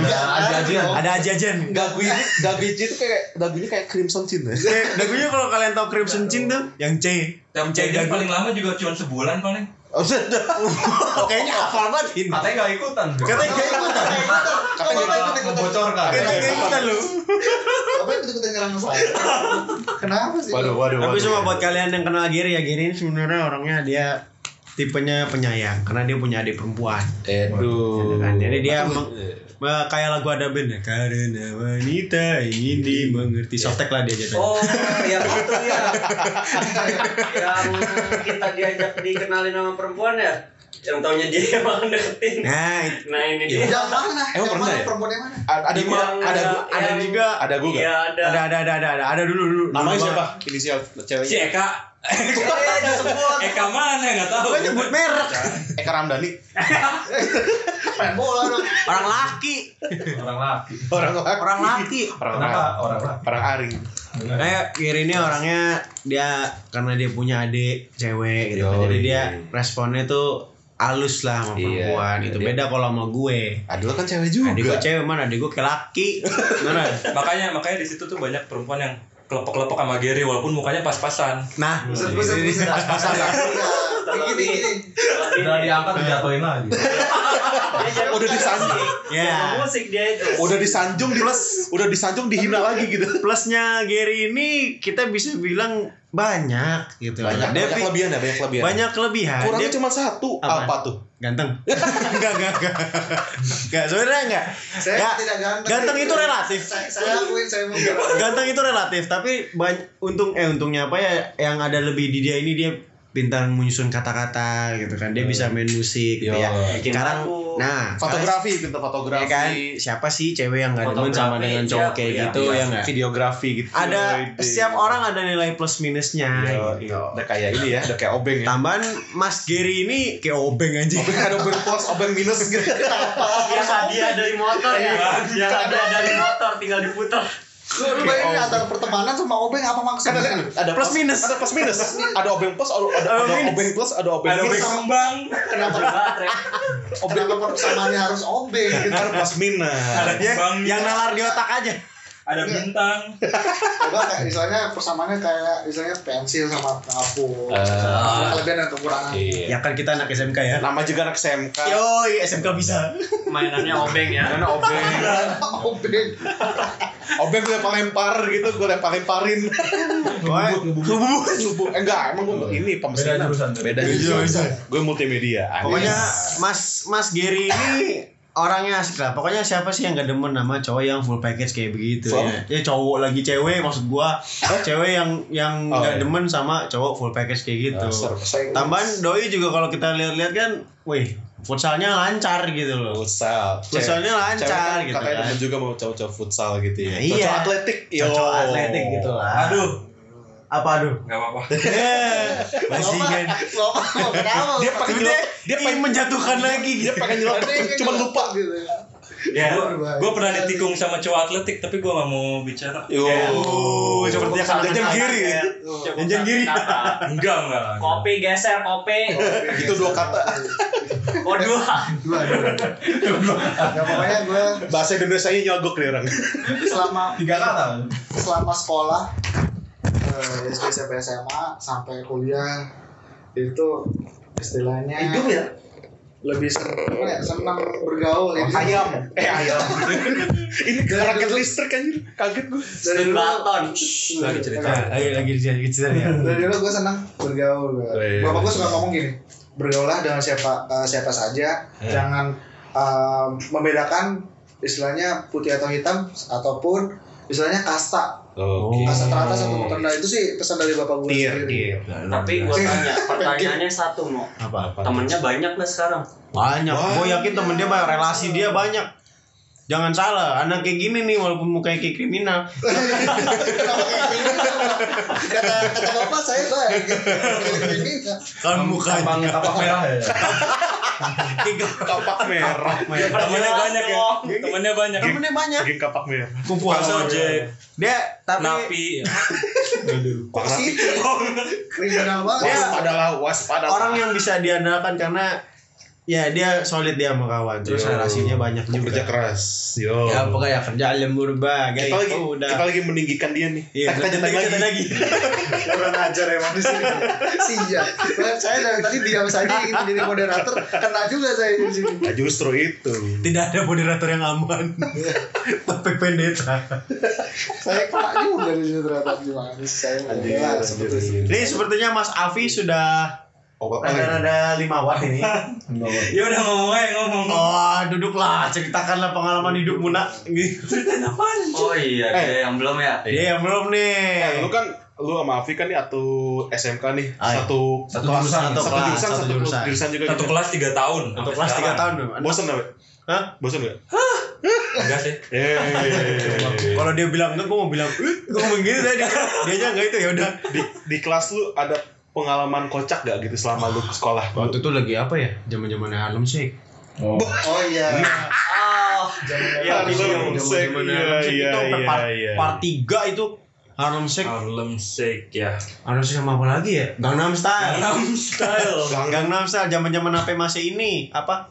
B: Ya,
A: Ada aja-ajan.
D: Dagunya, dagunya itu kayak dagunya kayak Crimson Chin ya.
A: Eh, dagunya kalau kalian tahu Crimson Chin tuh yang C.
C: Yang jadi paling lama juga cuma sebulan paling.
D: Oh, sudah.
A: Kayaknya hafal banget ini.
E: Katanya gak ikutan.
A: Katanya gak ikutan.
B: Katanya
E: Katanya
B: ikut ikutan.
E: bocorkan.
A: Katanya gak ikutan lu.
B: Apa ikut ikutan nyerang saya? Kenapa sih?
D: Waduh, waduh,
A: Tapi cuma buat kalian yang kenal Gary ya Gary ini sebenarnya orangnya dia tipenya penyayang karena dia punya adik perempuan.
D: Aduh.
A: Gitu kan. Jadi dia meng- eh, kayak lagu ada band ya karena wanita ini dimengerti softtek lah dia jadi.
F: Oh,
D: iya,
F: yang itu ya. yang Ya kita diajak dikenalin sama perempuan ya. Yang taunya dia yang deketin.
A: Nah, itu.
F: Nah, ini
D: Iya.
F: dia.
B: Yang mana?
D: Emang
B: Yang
D: pernah
B: mana
D: ya?
B: perempuan yang mana?
D: Ada ada gua,
F: Yang-
D: ada gua,
A: ada
F: yang-
A: juga.
D: ada gua
F: Iya,
D: enggak?
F: ada.
A: Ada ada ada ada ada, ada dulu dulu.
D: Namanya
A: Dulu
D: siapa?
A: banget.
D: Inisial
C: Si
D: ceweknya.
C: Eka.
B: Eh,
C: Eka mana nggak tahu.
A: Gua nyebut merek.
D: Eka Ramdhani.
B: Main bola dong.
A: Orang laki,
E: Orang laki.
D: Orang laki.
A: orang laki.
D: Orang
E: Kenapa
D: laki.
E: orang laki?
D: Orang aring.
E: Bener.
A: Kayak Giri ini orangnya dia karena dia punya adik cewek gitu.
D: Yoi.
A: Jadi dia responnya tuh halus lah sama
D: Iya,
A: perempuan
D: iya,
A: gitu.
D: dia-
A: Beda kalau sama gue.
D: Ada lo kan cewek
A: Adik gue
D: juga.
A: cewek mana? Adik gue kayak laki. Bener.
C: Makanya makanya di situ tuh banyak perempuan yang kelepok-kelepok sama Gary walaupun mukanya pas-pasan.
A: Nah,
B: Buset, buset,
A: ini
B: buset.
A: pas-pasan lah.
B: Nah, Gini, gini.
E: Udah diangkat dijatuhin lagi.
D: Udah disanjung.
A: Ya.
F: musik dia itu.
D: Udah disanjung di plus, udah disanjung dihina lagi gitu.
A: Plusnya Gary ini kita bisa bilang banyak gitu. Dia
D: Banyak, banyak
A: pi-
D: kelebihan ya, banyak kelebihan.
A: banyak kelebihan. Nah,
D: Kurangnya
A: Dia
D: cuma satu,
A: Apa?
D: apa, tuh?
A: ganteng. enggak, enggak, enggak. Enggak, sebenarnya enggak.
B: Saya
A: Ya,
B: tidak ganteng.
A: ganteng itu relatif.
B: Saya, saya akuin saya mau
A: ganteng itu relatif tapi ban- untung eh untungnya apa ya yang ada lebih di dia ini dia pintar menyusun kata-kata gitu kan dia bisa main musik gitu
D: Hmm. Yo.
A: ya
F: Bikin
A: sekarang
F: lagu.
A: nah
D: Fotografi,
A: sekarang, ya
D: pintar
B: Iya
D: fotografi.
A: kan siapa sih cewek yang gak demen sama
F: Fotografi,
A: dengan cowok
F: iya,
A: kayak
F: iya,
A: gitu ya nggak?
D: Videografi gitu.
A: ada
D: Ide.
A: setiap orang ada nilai plus minusnya
D: Yo,
A: gitu.
D: yo. Iya, Udah kayak ini ya, udah kayak obeng ya.
A: tambahan Mas Gary ini kayak obeng anjing
D: Obeng ada obeng plus, obeng minus gitu.
F: Yang hadiah dari motor ya.
C: Iya,
F: Yang hadiah dari motor tinggal diputar.
B: Lu lu bayangin antara pertemanan sama obeng apa maksudnya?
D: Ada
A: Plus minus.
D: Ada plus minus. Ada obeng plus, ada, ada, ada
A: minus.
D: obeng plus, ada obeng
C: Ada
D: minus.
C: Bang Kembang,
B: Kenapa kenapa persamaannya harus obeng? gitu?
D: Ada plus minus.
C: ada
A: ya,
C: Kembang,
A: yang nalar di otak aja
C: ada Bintang.
B: Coba kayak misalnya persamaannya kayak misalnya pensil sama penghapus.
D: Eh.
B: Kelebihan dan kekurangan.
D: Iya.
A: ya kan kita anak SMK ya
D: Nama juga anak SMK.
A: Yoi, SMK bisa
F: Mainannya obeng ya.
D: Karena obeng.
B: Obeng.
D: obeng gue lempar gitu, gue lempar-lemparin.
A: Wah,
D: Eh, enggak, emang gue ini
E: Beda
D: pemesinan.
E: jurusan.
D: Beda
A: Iya,
D: jurusan.
A: bisa.
D: Gue multimedia.
A: Pokoknya
D: Yes.
A: Mas Mas Giri ini orangnya asik lah. Pokoknya siapa sih yang gak demen sama cowok yang full package kayak begitu
D: Full?
A: ya? Ya cowok lagi cewek maksud gua cewek yang yang
D: Oh,
A: nggak
D: iya. Nah,
A: demen sama cowok full package kayak gitu.
D: Ser- ser-
A: Tambahan doi juga kalau kita lihat-lihat kan, wih, futsalnya lancar gitu loh.
D: futsal. Cewek-
A: Futsalnya
D: cewek kan
A: lancar gitu
D: Katanya
A: kan.
D: demen juga mau cowok-cowok futsal gitu ya.
A: Nah, iya.
D: Cowok atletik. yo.
A: Cowok atletik gitu lah.
C: Aduh,
A: Apa aduh? Iya.
C: nggak apa-apa.
A: Bajingan.
B: Lo apa? Kenapa?
D: Dia pengen
A: Dia
D: nyelot- dia
A: pengen
D: pengen
A: menjatuhkan lagi
D: dia
A: gitu.
D: pengen nyelot, cuman Iya, lupa.
B: gitu.
C: Ya,
B: Berbahaya.
C: gue pernah ditikung sama cowok atletik, tapi gue gak mau bicara.
D: Yo, sepertinya kamu jajan kiri. Janjian kiri.
C: Enggak, enggak.
F: Kopi geser kopi.
D: Itu dua kata.
F: Oh dua.
B: Dua, dua. Ya, pokoknya gue
D: Bahasa Indonesia nya nyogok nih orang.
B: selama
E: Tiga kata.
B: selama sekolah eh, SD SMP SMA sampai kuliah itu istilahnya
F: Hidup ya.
B: lebih senang senang bergaul ya. ayam
D: Eh ayam. Ini raket listrik anjir. Kaget gue.
B: dari dulu
F: Baton.
C: Lagi cerita.
G: Ayo lagi cerita ya.
B: dari dulu gue senang bergaul
D: iya.
B: bapak gue suka ngomong gini bergaulah dengan siapa eh, siapa saja jangan eh, membedakan istilahnya putih atau hitam ataupun istilahnya kasta
D: Oke.
B: kasta teratas atau terendah itu sih pesan dari bapak gue
D: Tier,
B: sendiri
D: tier.
F: Tapi gue tanya, pertanyaannya satu mau.
A: Apa apa?
F: Temennya banyak lah sekarang.
A: Banyak. Gue yakin temen dia banyak, relasi dia banyak. Jangan salah, anak kayak gini nih walaupun mukanya kayak kriminal.
B: kata kata bapak saya baik ini
A: Kan mukanya
E: Kapak merah ya.
D: Kapak merah.
C: Eh, Temennya banyak ya. Temennya banyak.
A: temennya banyak.
D: Geng kapak merah.
A: Kumpul.
C: Pas ojek,
A: Dia tapi
C: napi.
B: kok sih kriminal banget
D: Waspada lah, waspada.
A: Iya. orang yang bisa diandalkan karena ya dia solid dia sama kawan. Terus
D: Yo.
A: relasinya banyak juga.
D: kerja keras. Yo.
A: Ya pokoknya kerja lembur bagai.
D: kita lagi
A: Oh, udah.
D: kita lagi meninggikan dia nih.
A: Iya,
D: kita jangan lagi.
A: lagi.
B: kurang ajar emang di sini Sia. saya dari tadi diam saja ingin menjadi moderator kena juga saya di sini
D: Nah, justru itu.
A: Tidak ada moderator yang aman. Topik pendeta.
B: saya kena juga di sini ternyata gimana sih saya ya, seperti itu
A: Ini sepertinya Mas Afi sudah
D: Oh,
A: rada-rada lima watt ini.
C: Ya udah ngomong aja ngomong.
A: Oh, duduklah, ceritakanlah pengalaman Iya, hidupmu nak.
F: Oh iya, dia
C: Eh.
F: yang belum ya.
A: Dia yang belum
D: Eh,
A: nih.
D: lu kan lu sama Afi kan nih atau SMK nih
A: Ah, iya.
D: satu
E: Satu
D: kelas,
E: jurusan,
D: satu
A: satu kelas,
D: jurusan
A: satu
D: satu
A: jurusan.
D: jurusan, juga
C: Satu
D: gitu.
C: kelas tiga tahun.
A: Untuk kelas tiga tahun dong.
D: bosen nggak?
A: Hah?
D: bosen nggak?
C: Enggak sih.
D: Eh,
A: Kalau dia bilang enggak, gue mau bilang, "Eh, gue mau gitu tadi. Dia aja enggak itu ya udah.
D: di, di kelas lu ada pengalaman kocak gak gitu selama lu sekolah?
A: Waktu itu lagi apa ya? Zaman-zamannya Harlem Shake.
B: oh iya
F: Oh,
D: Iya,
A: Harlem
D: Harlem
E: gitu.
D: Shake,
A: Shake.
D: iya, iya,
A: Itu sampai
D: iya,
A: part,
D: iya.
A: part 3 itu Harlem Shake.
C: Harlem Shake ya.
A: Harlem Shake sama apa lagi ya? Gangnam Style.
C: Harlem Style.
A: Gangnam Style zaman-zaman HP masih ini apa?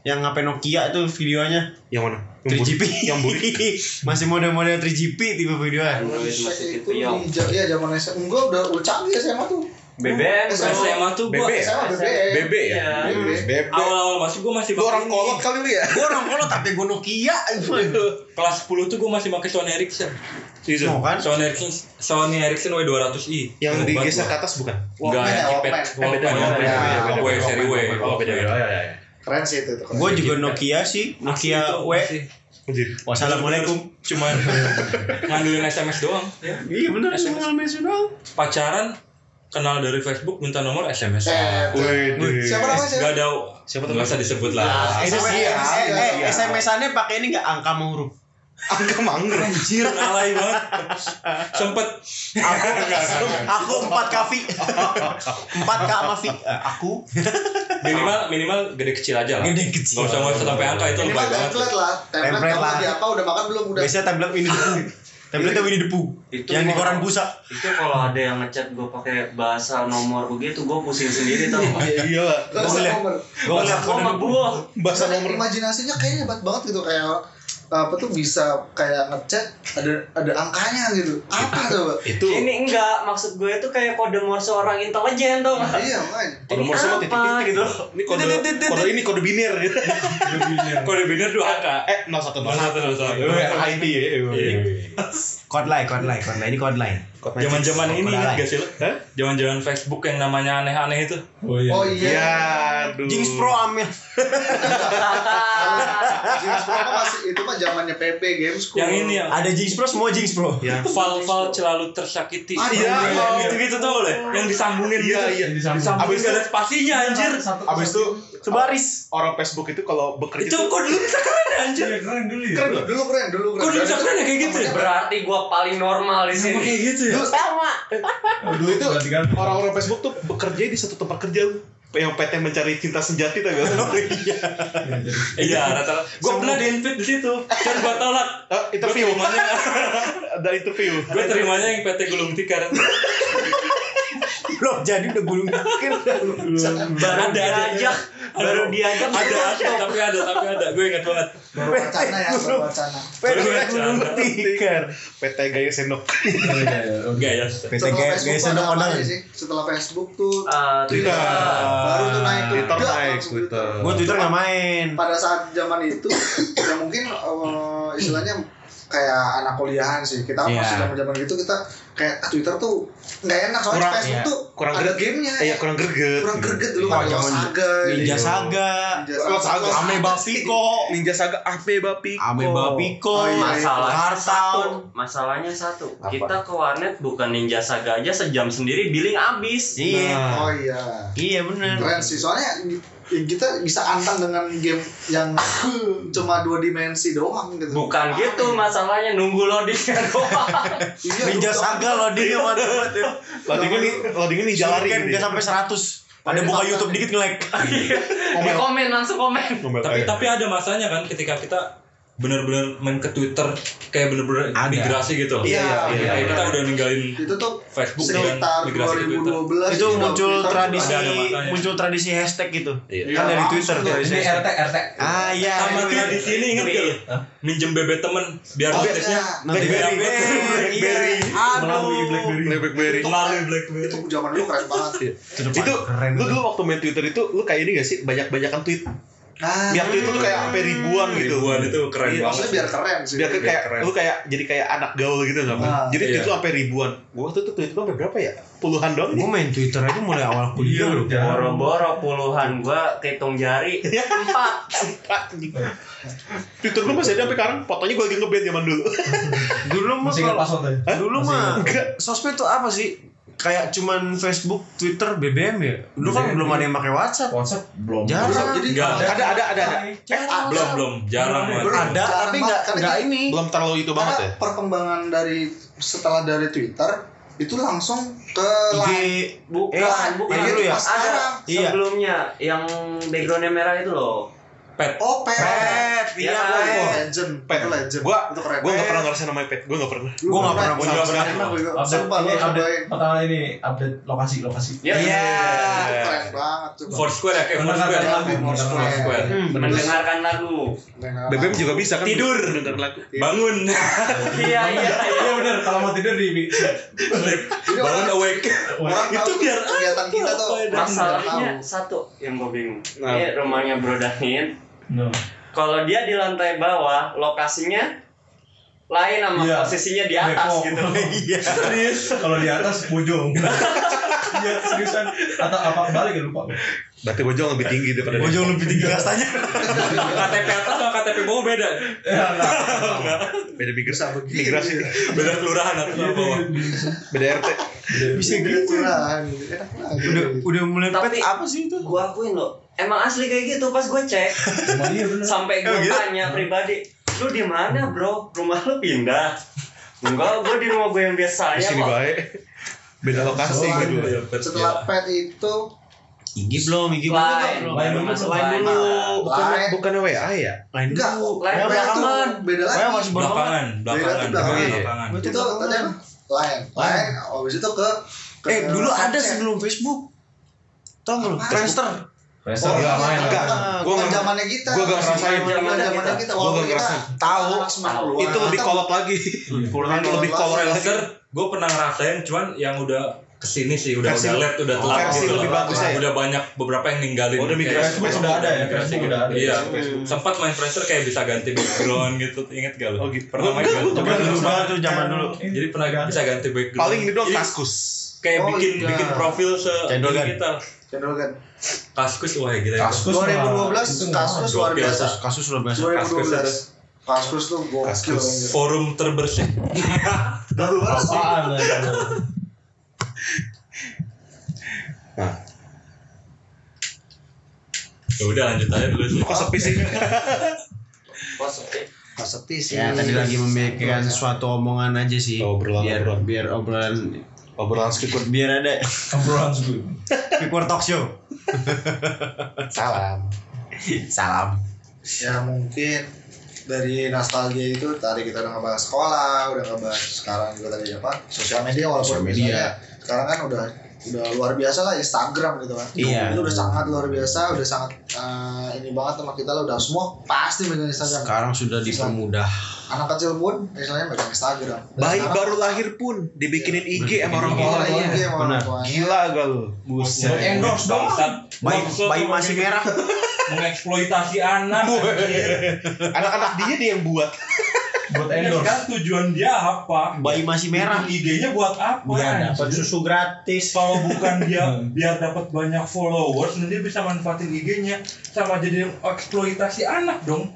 A: Yang HP Nokia itu videonya.
D: Yang mana? Yang buri-
A: 3GP
D: Yang burik.
A: masih model-model 3GP tipe video
F: Android masih
B: itu
F: gitu ya.
B: di ja- iya zaman SMA enggak udah ucap ya SMA tuh
F: BBM
C: Eh,
B: SMA.
C: SMA tuh gua.
D: Bebe ya?
B: SMA BBM
D: Bebe ya?
F: Iya.
D: Bebe.
C: Awal-awal masuk gua masih
D: Lu orang
C: pakai
D: kolot kali lu ya?
A: gue orang kalau tapi gue Nokia
D: Iya.
C: ini. Kelas 10 tuh gua masih pakai Sony Ericsson.
D: Itu.
A: Mau kan
C: Sony Ericsson Sony Ericsson W200i.
D: Yang
C: Ingat banget
D: digeser
C: gua.
D: ke atas bukan?
C: Enggak,
B: Walkman ya,
C: yang keypad.
B: Walkman.
C: Walkman,
D: beda, beda,
C: Walkman, Walkman,
D: beda,
C: Walkman,
D: beda,
C: iya, seri Oh, W.
D: beda,
C: Walkman,
D: beda,
C: Walkman.
D: ya, ya, ya.
B: keren sih itu, itu keren.
A: gue juga Nokia sih
C: Asli
A: Nokia W
C: tuh, asli.
D: Anjir.
A: wassalamualaikum
C: Cuman ngandelin SMS doang. Ya.
A: iya bener pengalaman sudah
C: Pacaran kenal dari Facebook minta nomor SMS.
B: Eh,
D: Wih,
B: siapa namanya siapa
C: Gak ada siapa tuh bisa disebut
D: Ah,
C: lah.
A: eh
B: Sama
A: eh,
B: ya,
A: eh,
B: iya.
A: SMS-annya pakai ini nggak angka mau huruf
D: Angka mangger.
C: Anjir, alay banget. Sempet
A: aku empat kafi empat kak sama Vi. Eh, aku
C: minimal minimal gede kecil aja lah.
A: Gede kecil.
C: Gak usah nggak usah sampai angka itu
B: ini
C: lebay
B: mah
C: banget.
B: template lah template
A: Template
B: kamu
A: lah.
B: lagi apa udah makan belum udah
A: biasanya tablet ini depu
D: Iya.
A: tabletnya ini depu
F: Itu
A: yang di
F: mau-
A: koran busa
F: Itu kalau ada yang ngechat gue pakai bahasa nomor begitu, gue pusing sendiri tau.
D: Iya lah.
B: Gak usah
A: Boleh.
B: ngomong.
A: gue ngeliat
F: Oh, sama gue.
D: Bahasa
B: Karena
D: nomor
B: imajinasinya kayaknya hebat banget gitu kayak apa tuh bisa kayak ngechat ada ada angkanya gitu apa
C: Iya.
B: coba
D: itu
F: Ini enggak, maksud gue itu kayak kode morse orang intelijen tau nggak?
B: iya makanya
D: Kode
F: Ini
D: Morse mah
F: apa
D: titik-titik.
F: gitu?
D: ini kode kode ini kode biner gitu.
C: Kode biner dua angka.
D: Eh 010.
C: Nol satu, nol satu.
D: ID ya.
C: Iya.
A: kode lain kode lain kode lain ini kode lain
C: Zaman-zaman ini
A: Alay.
C: ingat gak sih lo?
D: Hah?
C: Zaman-zaman Facebook yang namanya aneh-aneh itu.
B: oh
D: Ya,
B: iya
D: aduh.
A: Jinx Pro ya. Amir
B: Jinx Pro mah Iya, kan masih itu mah zamannya PP Games School
C: Yang ini ya.
A: ada Jinx Pro semua Jinx Pro
D: Ya.
C: Val-Val selalu tersakiti.
B: Ah,
D: iya, iya.
C: gitu-gitu tuh boleh. Yang disambungin
D: Iya,
C: gitu.
D: iya.
C: Disambungin
D: Abis
C: gak
D: itu-
C: ada spasinya anjir.
D: Abis itu
A: sebaris
D: orang Facebook itu kalau bekerja
C: Itu
D: tuh-
C: kok dulu bisa keren anjir.
E: keren dulu ya.
B: keren loh, dulu keren dulu keren
C: Kok dulu bisa keren ya kayak gitu ya?
F: Berarti gue paling normal di sini.
C: Kayak gitu ya?
B: Dulu-
E: Dulu itu
D: orang-orang Facebook tuh bekerja di satu tempat kerja lu. yang PT mencari cinta sejati tuh biasa. Iya.
C: Iya, rata-rata. Gue pernah di invite di situ, dan gue tolak.
D: Eh,
C: Gue
D: interview.
C: terimanya,
D: Ada interview.
C: gue terimanya yang PT Gulung Tikar.
A: Loh, jadi udah gulung tikar.
F: Baru
C: Ada, ada.
F: diajak, baru diajak.
C: Ada, ada, tapi ada, tapi ada. Gue ingat banget.
B: baru wacana ya baru wacana
A: PT
C: Baru
A: gulung
C: bercanda.
A: tikar.
D: PT Gaya Sendok.
C: Oke ya.
A: PT
B: setelah
A: Gaya
B: Facebook
A: Sendok
B: ada
A: Ondang.
B: apanya sih setelah Facebook tuh
F: Ah,
D: Twitter.
B: baru tuh naik tuh
D: Twitter
B: Gak,
D: naik
B: langsung
D: Twitter.
A: Gue Twitter nggak main.
B: pada saat zaman itu ya mungkin eh, istilahnya kayak anak kuliahan sih kita
A: Iya.
B: masih zaman zaman itu kita kayak ah, Twitter tuh nggak enak soalnya
D: Kurang,
B: Facebook
A: iya.
B: tuh
D: Kurang
B: ada
D: greget.
B: gamenya
D: Iya, kurang greget.
B: Eh, kurang greget dulu kan
A: Wah,
B: Lost
A: zaman
B: Saga
A: Ninja
D: Iya.
A: Saga.
B: Ninja
D: Lost Saga,
B: Lost
A: Ame Bapiko.
D: Ninja Saga Ameba Piko.
A: Ameba Piko.
B: Oh, iya.
F: Masalahnya satu,
A: Hearthstone.
F: masalahnya satu.
D: Apa?
F: Kita ke warnet bukan ninja saga aja sejam sendiri billing abis.
A: Iya.
D: Nah.
B: oh iya
A: Iya bener.
B: keren sih soalnya ya, kita bisa antang dengan game yang cuma dua dimensi doang gitu
F: Bukan gitu masalahnya nunggu loadingnya doang.
B: Iya,
A: Ninja
B: lu-
A: Saga loadingnya mantep banget ya.
D: Loadingnya nih, loadingnya Ninja lari.
A: Shuriken
D: gitu
A: udah
D: ya.
A: sampai 100. Pada
B: Padahal
A: buka
B: bakal-
A: YouTube dikit nge-lag.
F: Di komen langsung komen.
D: Ngomel Eh,
C: Tapi
D: aja.
C: tapi ada masanya kan ketika kita benar-benar main ke Twitter kayak benar-benar
A: Ada.
C: migrasi gitu.
B: Iya,
D: iya,
C: Kayak kita udah ninggalin
B: itu tuh
C: Facebook dan
B: sekitar
C: migrasi ke Twitter.
B: 2012
A: Itu
B: udah
A: muncul
B: gitu. Twitter tuh
A: tradisi
C: ada makanya.
A: muncul tradisi hashtag gitu.
D: Iya.
A: Kan dari
B: langsung
A: Twitter
B: tuh.
A: dari
E: Ini RT RT.
A: Ah iya.
C: Sama
A: itu
C: kayak
A: ya.
C: di sini inget gak lu? Minjem bebek temen biar
B: Oh,
C: update-nya
B: iya.
A: nah, Nanti
C: Blackberry.
A: Blackberry. Iya.
D: Blackberry.
A: Aduh.
C: melalui BlackBerry.
D: Blackberry.
C: Melalui BlackBerry. Gitu,
B: itu zaman dulu keren banget
D: Itu lu dulu waktu main Twitter itu lu kayak ini gak sih banyak-banyakan tweet.
B: nah
D: Biar tweet itu kayak sampai ribuan gitu.
C: Ribuan itu keren
D: Iya,
C: banget.
B: maksudnya biar keren sih
D: biar ke- kayak
C: keren.
D: lu kayak jadi kayak anak gaul gitu nggak Pak?
B: Ah,
D: jadi
C: iya.
D: tweet lu sampai ribuan gua waktu itu tweet lu sampai berapa ya puluhan doang
A: Gue main Twitter aja mulai awal kuliah
E: Iya,
A: loh.
E: iya.
F: Boro-boro puluhan gua kehitung jari empat.
D: Twitter lu masih ada sampai sekarang fotonya gua lagi ngeband zaman dulu
A: Dulu mah
E: Masih ingat
A: kalau
E: password aja.
A: dulu
E: Masih
A: mah
E: ingat.
A: sosmed tuh apa sih? Kayak cuman Facebook, Twitter, BBM ya. Dulu kan
E: BBM.
A: belum ada yang pakai WhatsApp.
E: WhatsApp belum.
A: Jarang.
B: jadi
C: Enggak ada.
D: ada ada ada, ada.
A: Jarang
D: ah,
A: WhatsApp.
C: Belum belum jarang
E: Belum.
C: banget.
A: Iya. Ada
B: Jarang
A: tapi
B: banget,
A: nggak
B: karena
A: nggak
B: dia-
A: ini.
D: belum terlalu itu banget
B: karena
D: ya
B: perkembangan dari setelah dari Twitter itu langsung ke
A: IG
B: line
A: Eh,
F: Bukan,
A: yang
F: bukan.
A: dulu ya?
F: Ada
A: Iya.
F: sebelumnya yang backgroundnya merah itu loh.
C: Pet.
B: oh pet
A: Pet, iya
F: Iya, Pet.
B: Oh,
A: Pet.
B: legend
D: Pet.
B: itu legend
D: Gua-
B: itu keren
D: gua nggak
A: eh,
D: pernah ngerasain namanya pet gua nggak pernah
A: Gua nggak pernah punya.
B: Sama enak gitu.
E: Iya, Update
B: Sumpah,
E: ini
B: lu
E: update
B: cobain.
E: pertama ini update lokasi lokasi.
F: Iya.
A: ah,
D: Eh,
B: Itu keren banget tuh
C: Foursquare ya kayak Foursquare.
E: Mendengarkan lagu.
B: Foursquare.
C: Foursquare.
A: Hmm, bener.
F: Mendengarkan lagu.
D: BBM juga bisa kan
C: Tidur.
D: dengar lagu
C: Bangun.
F: Iya iya iya.
E: Iya benar kalau mau tidur di
B: Jadi
C: Bangun
B: orang-
C: awake.
B: orang
C: Itu
B: tahu
C: biar
B: kegiatan kita tuh
C: apa,
B: orang nggak tahu.
F: Masalahnya satu yang gue bingung.
D: Nah.
F: Ini rumahnya Bro Danin.
E: No.
F: Kalau dia di lantai bawah, lokasinya lain sama
E: Iya.
F: posisinya di atas
E: Beko.
F: gitu.
E: Iya. Serius. Kalau di atas pojong. Iya seriusan atau apa balik ya lupa.
D: berarti bojong lebih tinggi daripada
A: Gua jauh lebih tinggi kastanya.
C: KTP atas sama KTP bawah beda.
E: Ya enggak.
D: beda migrasi migrasi
C: Beda kelurahan atas sama bawah.
D: beda rt
A: Bisa
B: Jadi
A: gitu.
B: kurang, enak banget.
A: Udah udah mulai pet
F: Tapi-
A: apa sih itu?
F: Gue akuin loh. Emang asli kayak gitu pas gue cek
E: Emang iya benar.
F: sampai gue
A: Emang gitu?
F: tanya pribadi, lu di mana bro? Rumah lu pindah? Enggak, gue di rumah gue yang
D: di
F: biasanya
D: sini
F: Iya, kok.
D: baik beda
A: Iya,
D: lokasi gua juga
B: setelah pet itu
A: IG belum, IG belum.
F: Lain,
E: Lain
F: baru
E: dulu,
F: masuk
E: lain
F: lain
E: dulu.
D: bukannya bukannya wa ya
A: Lain
B: Enggak,
A: dulu.
F: lain
A: Ya,
F: banget tuh.
A: belakangan.
B: beda lagi.
A: Saya masih belakangan.
C: Belakangan, belakangan,
B: Beda tuh Iya, belakangan.
C: belakangan.
A: Gua
B: itu
A: tuh
B: tadi
A: belakangan.
B: apa? Line. Line. Abis itu ke, ke
A: Eh, dulu ada
B: Snapchat.
A: sebelum Facebook. Tahu enggak lu?
B: Apaan?
A: Friendster.
E: Besok
B: Oh,
E: enggak
B: iya,
E: main.
B: enggak.
E: enggak.
D: Gua
B: Bukan
D: nggak-
B: zamannya kita.
D: gua nggak ngerasain.
B: Bukan
A: Iya,
B: zamannya kita.
D: Gua nggak ngerasain.
B: Tahu.
D: itu lebih kolot lagi
B: Puluhan
D: itu lebih
B: tahun
D: kolot
B: lalu.
D: lagi
C: Friendster gue pernah ngerasain cuman yang udah kesini sih udah
D: Versi-
C: udah led udah telat
D: versi
C: gitu.
D: lebih bagusnya ya?
C: udah banyak beberapa yang ninggalin
D: Oh, udah
C: Kayak
D: migrasi.
E: Facebook udah ada ya.
C: migrasi
E: Facebook
C: gitu.
E: udah ada.
C: iya
D: Facebook.
C: sempat main Friendster kayak bisa ganti background gitu inget gak lo
D: Oh, gitu.
C: pernah main
D: Enggak,
C: ganti
D: gua
A: Coba
C: background.
A: dulu banget tuh zaman dulu.
C: jadi pernah bisa ganti background
D: paling ini
A: Iya.
D: doang
C: Jadi
D: kaskus
C: kayak
B: Oh,
C: bikin
B: iya.
C: bikin profil se
A: Cendol
C: ini
A: kan?
C: kita
B: Cendol kan.
C: kaskus wah gila ya.
E: Kaskus
B: 2012 kasus luar
C: Gokil,
B: biasa.
A: Kasus luar biasa.
B: 2012 Kaskus tuh gokil.
D: Kaskus.
C: forum terbersih
E: Apaan?
D: nah
C: ya udah lanjut aja dulu sih
D: kok sepi sih
B: Pas sepi sih.
A: Ya tadi lagi memikirkan suatu omongan aja sih.
D: Obrolan,
A: biar
D: obrolan.
A: biar obrolan
D: obrolan skip
A: biar ada
E: Obrolan sebelum.
A: Big War Talk Show.
D: Salam.
A: Salam.
B: ya mungkin dari nostalgia itu tadi kita udah ngebahas sekolah udah ngebahas sekarang juga tadi apa sosial media walaupun
A: Sosial media.
B: misalnya sekarang kan udah udah luar biasa lah Instagram gitu kan
A: Iya.
B: itu udah sangat luar biasa udah sangat eh, ini banget sama kita lah udah semua pasti megang Instagram
A: Sekarang sudah dipermudah.
B: anak kecil pun misalnya megang Instagram Dan
D: Bayi
B: sekarang-
D: baru lahir pun dibikinin IG sama orang
B: Iya,
D: tuanya.
B: iya, sama orang
A: Benar.
B: tuanya.
D: Gila gak lu? Buset.
C: endorse dong
A: Bayi, bayi masih merah.
C: mengeksploitasi anak anjir.
D: Anak-anak dia dia yang buat.
E: buat
C: Endorse.
E: endorse
C: Kan tujuan dia apa?
A: Bayi masih merah.
C: IG-nya buat apa?
A: Biar dapat
C: anjir?
A: susu gratis.
C: Kalau bukan dia biar dapat banyak followers, nanti dia bisa manfaatin IG-nya sama jadi eksploitasi anak dong.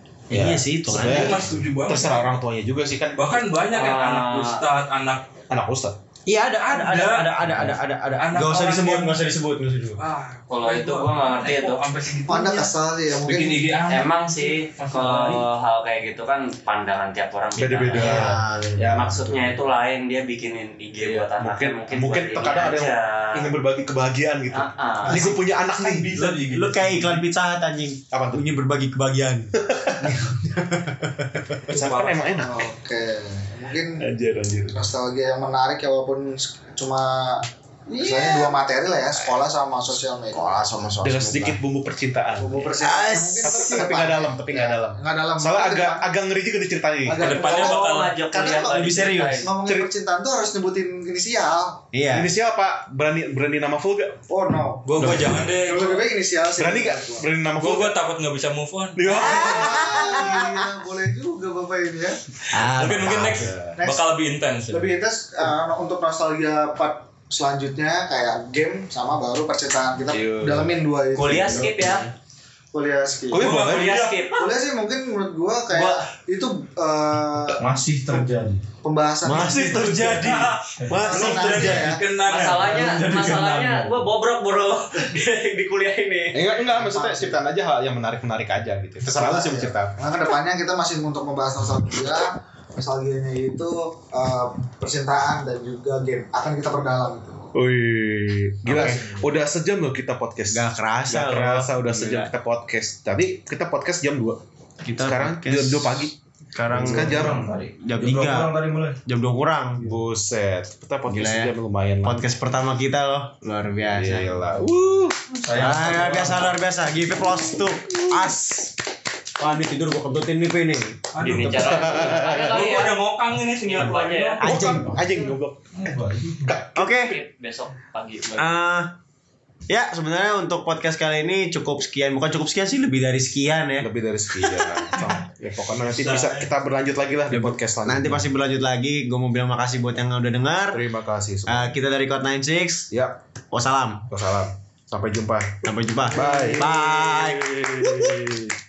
A: Iya
D: Ya,
A: sih itu kan.
D: sebenarnya
C: Ini mas setuju banget.
D: Terserah orang tuanya juga sih kan.
C: Bahkan banyak yang
D: Ah.
C: anak ustad, anak
D: Anak ustad.
A: Iya ada ada ada ada ada ada ada ada.
C: Anak
A: Gak usah
C: orang
A: disebut,
C: yang-
A: nggak usah disebut, nggak usah disebut.
C: ah,
G: Kalau itu gua nggak ngerti
C: Eh, kok
G: itu.
C: Sampai segitu.
B: Anda kesal sih ya mungkin
C: bikin IG anak.
G: Emang sih kalau hal kayak gitu kan pandangan tiap orang
D: Beda-beda.
F: Iya.
G: beda.
A: Ya.
G: Maksudnya itu lain dia bikinin IG buat anak
D: Mungkin-
G: mungkin
D: mungkin
G: buat ini
D: terkadang ada yang
G: aja.
D: Ingin berbagi kebahagiaan gitu.
G: Ah, ah.
D: Ini gue punya anak
C: Kan
D: nih.
C: bisa di IG.
A: Lu kayak iklan pizza Hut, anjing.
D: Apa tuh?
A: Punya berbagi kebahagiaan.
D: Misalkan emang enak.
B: oke mungkin
D: Anjir anjir.
B: nostalgia yang menarik ya walaupun s- cuma misalnya dua materi lah ya sekolah sama sosial media
A: Sekolah sama sosmed.
D: Dengan sedikit bumbu percintaan.
B: Bumbu persen
D: Tapi tapi nggak dalam, tapi nggak dalam.
B: Iya. nggak dalam
D: Soalnya
B: Mungkin
D: agak
B: ke depan-
D: agak ngeri juga diceritain ini.
B: agak-
F: Oh,
C: Kedepannya
B: kalau-
C: bakal-
G: ngajak
B: karena
G: kuliah
B: kalau
G: tadi
A: lebih serius.
G: ceritain.
B: ngomongin percintaan tuh harus nyebutin inisial
A: Iya.
D: Inisial apa? Berani berani nama full gak?
B: oh no
C: Gua gua jangan deh.
B: lebih baik inisial sih
D: Berani gak? Berani nama
C: Gua
D: full
C: gua
D: gak?
C: takut nggak bisa move on.
D: Iya.
B: Ah, iya, boleh juga bapak ini ya
A: Ah,
C: Mungkin mungkin next
B: Next.
C: bakal lebih intens. ya.
B: lebih intens eh, untuk nostalgia part selanjutnya kayak game sama baru percintaan kita
D: Iya.
B: dalamin dua itu
G: Kuliah skip ya.
B: kuliah skip
D: Kuliah
C: Gua
D: boleh.
G: Kuliah skip.
B: kuliah sih mungkin menurut gua kayak itu eh,
E: masih terjadi
B: pembahasan
D: Masih terjadi. Masih
B: Belum
D: terjadi.
B: ada ya.
C: Kenangan.
G: Masalahnya
E: Jadi
G: masalahnya
E: kenangan.
G: gua bobrok bro di, di kuliah ini.
D: Eh, Enggak, enggak, maksudnya ceritain aja hal yang menarik-menarik aja gitu. Terserah lu
A: ya.
D: sih mau cerita.
B: Nah, kedepannya kita masih untuk membahas nostalgia, nostalgianya itu eh, percintaan dan juga game akan kita perdalam gitu. itu.
D: Wih, gila. Udah sejam loh kita podcast.
A: Gak kerasa
D: Gak
A: loh.
D: kerasa udah sejam
A: Gila.
D: kita podcast. Tadi kita podcast jam 2.
A: Kita
D: Sekarang
A: podcast-
D: jam 2 pagi.
A: Sekarang
D: Sekarang jam
E: kurang tadi
A: Kan jam
E: Jam berapa kurang
A: 3
E: tadi mulai
A: jam 2 kurang.
D: Buset, kita
A: Gila
D: podcast
A: ya.
D: jam lumayan lah.
A: Podcast pertama kita loh. Luar biasa.
D: Gila. Wuh.
E: saya
A: Ah, luar biasa, luar biasa. Give it plus to us. Wah, ini tidur gua kentutin nih, Pe, nih.
C: Aduh,
G: Ini cara. Ada
C: Gua
G: kali ya.
C: udah ngokang ini sinyal
G: Banyak ya.
A: Anjing,
D: Oh, kan,
A: anjing goblok. Oke.
G: Skip besok pagi.
A: eh, ya, sebenarnya untuk podcast kali ini cukup sekian. Bukan cukup sekian sih, lebih dari sekian ya.
D: Eh, lebih dari sekian. ya pokoknya nanti bisa kita berlanjut lagi lah di podcast
A: Nanti
D: selanjutnya.
A: pasti berlanjut lagi. Gue mau bilang makasih buat yang udah dengar.
D: terima kasih
A: Eh,
D: semua.
A: kita dari Code 96.
D: Ya,
A: Wassalam.
D: wassalam. Sampai jumpa.
A: Sampai jumpa.
D: Bye.
A: Bye.
D: Bye.